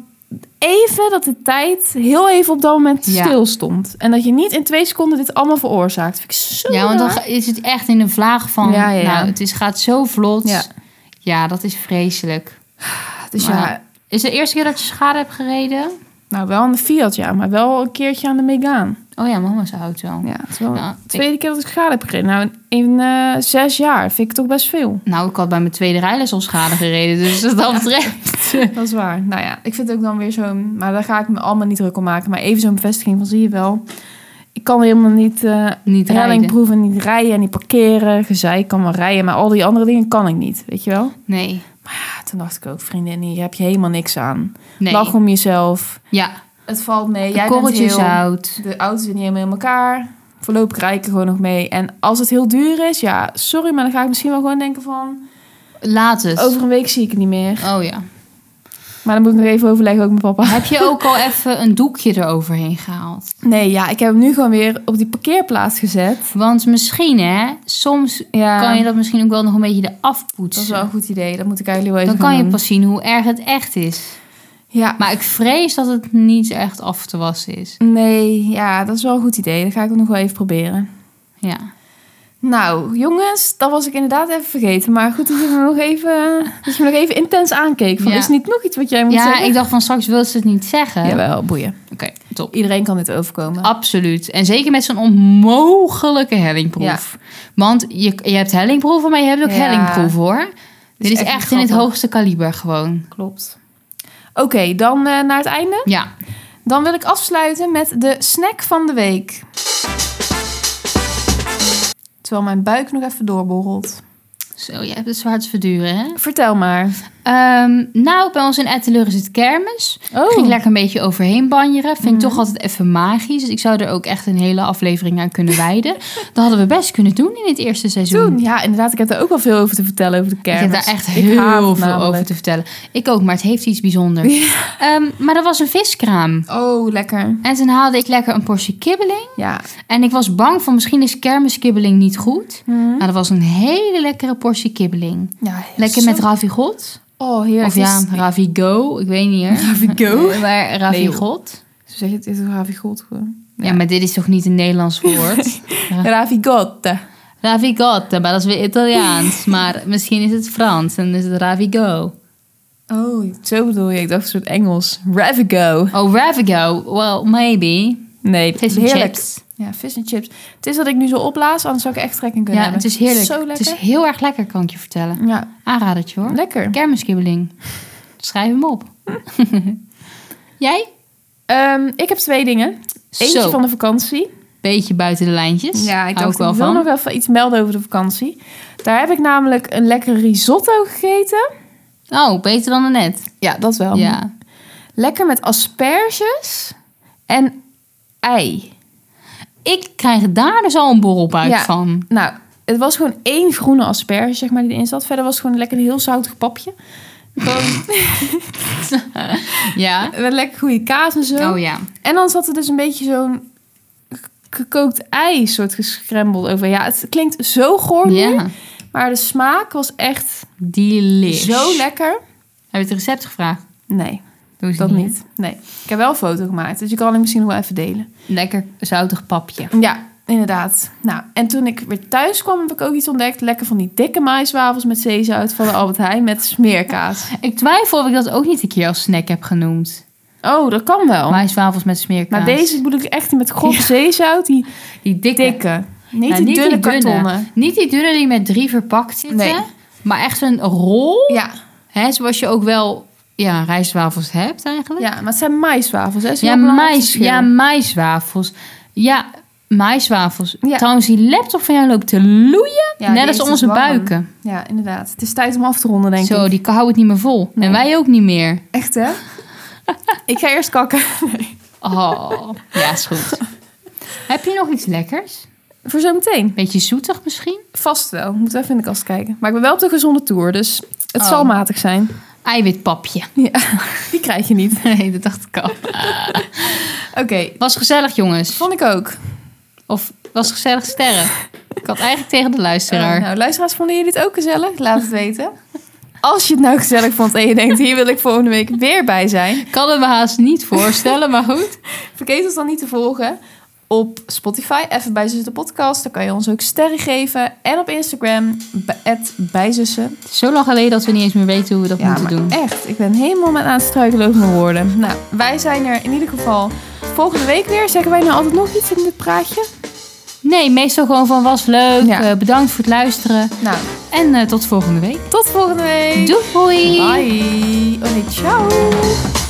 [SPEAKER 1] even dat de tijd heel even op dat moment
[SPEAKER 2] Ja.
[SPEAKER 1] stil stond. En dat je niet in twee seconden dit allemaal veroorzaakt. Vind ik zo
[SPEAKER 2] Ja, want dan
[SPEAKER 1] raar.
[SPEAKER 2] ga- is het echt in een vlaag van,
[SPEAKER 1] Ja, ja, ja.
[SPEAKER 2] nou, het is, gaat zo vlot.
[SPEAKER 1] Ja.
[SPEAKER 2] ja, dat is vreselijk.
[SPEAKER 1] Dus
[SPEAKER 2] maar-
[SPEAKER 1] ja,
[SPEAKER 2] Is het de eerste keer dat je schade hebt gereden?
[SPEAKER 1] nou wel aan de Fiat, ja. Maar wel een keertje aan de Megaan.
[SPEAKER 2] Oh ja, mama's auto.
[SPEAKER 1] Ja, het is wel
[SPEAKER 2] Nou,
[SPEAKER 1] de tweede keer dat ik schade heb gekreden. Nou, in eh, zes jaar vind ik toch best veel.
[SPEAKER 2] Nou, ik had bij mijn tweede rijles al schade gereden, dus wat dat betreft.
[SPEAKER 1] Dat is waar. Nou ja, ik vind het ook dan weer zo'n... Maar daar ga ik me allemaal niet druk om maken. Maar even zo'n bevestiging van, zie je wel... Ik kan helemaal niet... eh,
[SPEAKER 2] Niet
[SPEAKER 1] helling
[SPEAKER 2] rijden.
[SPEAKER 1] proeven, niet rijden en niet parkeren. Gezeik ik kan wel rijden, maar al die andere dingen kan ik niet, weet je wel?
[SPEAKER 2] Nee.
[SPEAKER 1] Ja, toen dacht ik ook, vriendin, hier heb je helemaal niks aan.
[SPEAKER 2] Nee.
[SPEAKER 1] Lach om jezelf.
[SPEAKER 2] Ja,
[SPEAKER 1] Het valt mee.
[SPEAKER 2] de
[SPEAKER 1] Jij bent
[SPEAKER 2] korreltje
[SPEAKER 1] heel...
[SPEAKER 2] zout.
[SPEAKER 1] De auto zit niet helemaal in elkaar. Voorlopig rij ik er gewoon nog mee. En als het heel duur is, ja, sorry, maar dan ga ik misschien wel gewoon denken van...
[SPEAKER 2] Laat het.
[SPEAKER 1] Over een week zie ik het niet meer.
[SPEAKER 2] Oh ja.
[SPEAKER 1] Maar dan moet ik nog even overleggen, ook met papa.
[SPEAKER 2] Heb je ook al even een doekje eroverheen gehaald?
[SPEAKER 1] Nee, ja, ik heb hem nu gewoon weer op die parkeerplaats gezet.
[SPEAKER 2] Want misschien, hè, soms
[SPEAKER 1] Ja,
[SPEAKER 2] kan je dat misschien ook wel nog een beetje eraf
[SPEAKER 1] dat is
[SPEAKER 2] poetsen.
[SPEAKER 1] wel een goed idee. Dat moet ik eigenlijk wel
[SPEAKER 2] Dan
[SPEAKER 1] even
[SPEAKER 2] kan
[SPEAKER 1] gaan
[SPEAKER 2] je
[SPEAKER 1] doen.
[SPEAKER 2] pas zien hoe erg het echt is.
[SPEAKER 1] Ja,
[SPEAKER 2] Maar ik vrees dat het niet echt af te wassen is.
[SPEAKER 1] Nee, ja, dat is wel een goed idee. Dat ga ik ook nog wel even proberen.
[SPEAKER 2] Ja.
[SPEAKER 1] Nou, jongens, dat was ik inderdaad even vergeten. Maar goed dat je me nog even, dat je me nog even intens aankeek. Van,
[SPEAKER 2] Ja.
[SPEAKER 1] Is er niet nog iets wat jij moet
[SPEAKER 2] Ja,
[SPEAKER 1] zeggen?
[SPEAKER 2] ik dacht van straks wil ze het niet zeggen.
[SPEAKER 1] Jawel, boeien.
[SPEAKER 2] Oké, top.
[SPEAKER 1] Iedereen kan dit overkomen.
[SPEAKER 2] Absoluut. En zeker met zo'n onmogelijke hellingproef. Want je, je hebt hellingproeven, maar je hebt ook
[SPEAKER 1] Ja.
[SPEAKER 2] hellingproef hoor. Dit is
[SPEAKER 1] echt
[SPEAKER 2] echt,
[SPEAKER 1] niet
[SPEAKER 2] in het
[SPEAKER 1] grappig.
[SPEAKER 2] hoogste kaliber gewoon.
[SPEAKER 1] Klopt. Oké, dan eh, naar het einde.
[SPEAKER 2] Ja.
[SPEAKER 1] Dan wil ik afsluiten met de snack van de week. Terwijl mijn buik nog even doorborrelt.
[SPEAKER 2] Zo, je hebt het zwaar te verduren hè.
[SPEAKER 1] Vertel maar.
[SPEAKER 2] Ehm, nou, bij ons in Etteleur is het kermis.
[SPEAKER 1] Oh,
[SPEAKER 2] Ging ik lekker een beetje overheen banjeren. Vind ik
[SPEAKER 1] Mhm.
[SPEAKER 2] toch altijd even magisch. Dus ik zou er ook echt een hele aflevering aan kunnen wijden. Dat hadden we best kunnen doen in het eerste seizoen.
[SPEAKER 1] toen. Ja, inderdaad. Ik heb daar ook wel veel over te vertellen over de kermis.
[SPEAKER 2] Ik heb daar
[SPEAKER 1] Ik
[SPEAKER 2] echt
[SPEAKER 1] haat
[SPEAKER 2] heel
[SPEAKER 1] het
[SPEAKER 2] veel
[SPEAKER 1] namelijk.
[SPEAKER 2] over te vertellen. Ik ook, maar het heeft iets bijzonders. Ehm, maar er was een viskraam.
[SPEAKER 1] Oh, lekker.
[SPEAKER 2] En toen haalde ik lekker een portie kibbeling.
[SPEAKER 1] Ja.
[SPEAKER 2] En ik was bang van misschien is kermiskibbeling niet goed. Maar dat was een hele lekkere portie kibbeling.
[SPEAKER 1] Hm? ja
[SPEAKER 2] Lekker met ravigot.
[SPEAKER 1] Oh, heerlijk.
[SPEAKER 2] Of ja,
[SPEAKER 1] Het is-
[SPEAKER 2] ravigo. Ik weet niet meer.
[SPEAKER 1] Ravigo?
[SPEAKER 2] Eh, Maar ravigot.
[SPEAKER 1] Zo zeg je het, is een ravigot gewoon.
[SPEAKER 2] ja. maar dit is toch niet een Nederlands woord?
[SPEAKER 1] Ravigotte.
[SPEAKER 2] ravigot, maar dat is weer Italiaans. Maar misschien is het Frans en is het ravigo.
[SPEAKER 1] Oh, zo bedoel je. Ik dacht een soort Engels. Ravigo.
[SPEAKER 2] Oh, ravigo. Well, maybe.
[SPEAKER 1] Nee,
[SPEAKER 2] Vis en
[SPEAKER 1] heerlijk.
[SPEAKER 2] chips.
[SPEAKER 1] Ja, vis en chips. Het is dat ik nu zo opblaas, anders zou ik echt trek in kunnen
[SPEAKER 2] Ja, het
[SPEAKER 1] hebben.
[SPEAKER 2] is heerlijk.
[SPEAKER 1] Zo
[SPEAKER 2] Het
[SPEAKER 1] lekker.
[SPEAKER 2] is heel erg lekker, kan ik je vertellen.
[SPEAKER 1] Ja,
[SPEAKER 2] Aanradertje hoor.
[SPEAKER 1] lekker.
[SPEAKER 2] Kermiskibbeling. Schrijf hem op.
[SPEAKER 1] Hm.
[SPEAKER 2] Jij?
[SPEAKER 1] Ehm, ik heb twee dingen. Eentje
[SPEAKER 2] Zo,
[SPEAKER 1] van de vakantie.
[SPEAKER 2] beetje buiten de lijntjes.
[SPEAKER 1] Ja, ik
[SPEAKER 2] Hou
[SPEAKER 1] dacht,
[SPEAKER 2] ook wel
[SPEAKER 1] ik wil
[SPEAKER 2] van.
[SPEAKER 1] nog even iets melden over de vakantie. Daar heb ik namelijk een lekkere risotto gegeten.
[SPEAKER 2] Oh, beter dan net.
[SPEAKER 1] Ja, dat wel.
[SPEAKER 2] Ja.
[SPEAKER 1] Lekker met asperges en ei.
[SPEAKER 2] Ik krijg daar dus al een borrelbuik
[SPEAKER 1] Ja.
[SPEAKER 2] van.
[SPEAKER 1] Nou, het was gewoon één groene asperge, zeg maar, die erin zat. Verder was het gewoon lekker een heel zoutig papje. Gewoon
[SPEAKER 2] Ja.
[SPEAKER 1] met lekker goede kaas en zo.
[SPEAKER 2] Oh ja.
[SPEAKER 1] En dan zat er dus een beetje zo'n k- gekookt ei soort gescrambled over. Ja, het klinkt zo goor nu,
[SPEAKER 2] Ja.
[SPEAKER 1] maar de smaak was echt
[SPEAKER 2] Delish.
[SPEAKER 1] zo lekker.
[SPEAKER 2] Heb je het recept gevraagd?
[SPEAKER 1] Nee,
[SPEAKER 2] Doe ze
[SPEAKER 1] dat niet. Nee. Ik heb wel een foto gemaakt, dus je kan hem misschien nog wel even delen.
[SPEAKER 2] Lekker zoutig papje.
[SPEAKER 1] Ja, inderdaad. Nou, en toen ik weer thuis kwam, heb ik ook iets ontdekt. Lekker van die dikke maiswafels met zeezout van de Albert Heijn met smeerkaas.
[SPEAKER 2] Ik twijfel of ik dat ook niet een keer als snack heb genoemd.
[SPEAKER 1] Oh, dat kan wel. Maar,
[SPEAKER 2] Maiswafels met smeerkaas.
[SPEAKER 1] deze bedoel ik echt met grof zeezout, die
[SPEAKER 2] Die dikke.
[SPEAKER 1] dikke. Niet die
[SPEAKER 2] Ja, Nou, niet die
[SPEAKER 1] dunne
[SPEAKER 2] dunne.
[SPEAKER 1] kartonnen.
[SPEAKER 2] Niet die dunne die met drie verpakt zitten.
[SPEAKER 1] Nee.
[SPEAKER 2] Maar echt een rol.
[SPEAKER 1] Ja,
[SPEAKER 2] Hè, zoals je ook wel ja, rijstwafels hebt eigenlijk.
[SPEAKER 1] ja, maar het zijn maiswafels, hè?
[SPEAKER 2] Ja, mais, ja maiswafels. Ja, maiswafels.
[SPEAKER 1] Ja.
[SPEAKER 2] Trouwens, die laptop van jou loopt te loeien. net als onze buiken.
[SPEAKER 1] Ja, inderdaad. Het is tijd om af te ronden, dus denk
[SPEAKER 2] Zo,
[SPEAKER 1] ik.
[SPEAKER 2] die houdt het niet meer vol.
[SPEAKER 1] Nee.
[SPEAKER 2] En wij ook niet meer.
[SPEAKER 1] Echt, hè? ik ga eerst kakken.
[SPEAKER 2] Oh, ja, is goed. Heb je nog iets lekkers?
[SPEAKER 1] Voor zometeen.
[SPEAKER 2] Beetje zoetig misschien?
[SPEAKER 1] Vast wel. Moet even in de kast kijken. Maar ik ben wel op de gezonde tour, dus het
[SPEAKER 2] Oh.
[SPEAKER 1] zal matig zijn.
[SPEAKER 2] Eiwitpapje.
[SPEAKER 1] Die krijg je niet.
[SPEAKER 2] Nee, dat dacht ik al.
[SPEAKER 1] Oké.
[SPEAKER 2] Was gezellig, jongens.
[SPEAKER 1] Vond ik ook.
[SPEAKER 2] Of was gezellig sterren. Ik had eigenlijk tegen de
[SPEAKER 1] Eh,
[SPEAKER 2] luisteraar.
[SPEAKER 1] nou, luisteraars, vonden jullie het ook gezellig? Laat het weten. Als je het nou gezellig vond en je denkt, hier wil ik volgende week weer bij zijn.
[SPEAKER 2] Ik kan het me haast niet voorstellen, maar goed.
[SPEAKER 1] Vergeet ons dan niet te volgen op Spotify, even bij Zussen de podcast. Dan kan je ons ook sterren geven. En op Instagram, at bijzussen.
[SPEAKER 2] Het is zo lang geleden dat we niet eens meer weten hoe we dat moeten
[SPEAKER 1] maar
[SPEAKER 2] doen.
[SPEAKER 1] echt, ik ben helemaal met aan het struikelen over mijn woorden. Nou, wij zijn er in ieder geval volgende week weer. Zeggen wij nou altijd nog iets in dit praatje?
[SPEAKER 2] Nee, meestal gewoon van was leuk.
[SPEAKER 1] Ja.
[SPEAKER 2] eh, bedankt voor het luisteren.
[SPEAKER 1] Nou,
[SPEAKER 2] En eh, tot volgende week.
[SPEAKER 1] tot volgende week.
[SPEAKER 2] Doei!
[SPEAKER 1] Bye. Oh nee, ciao.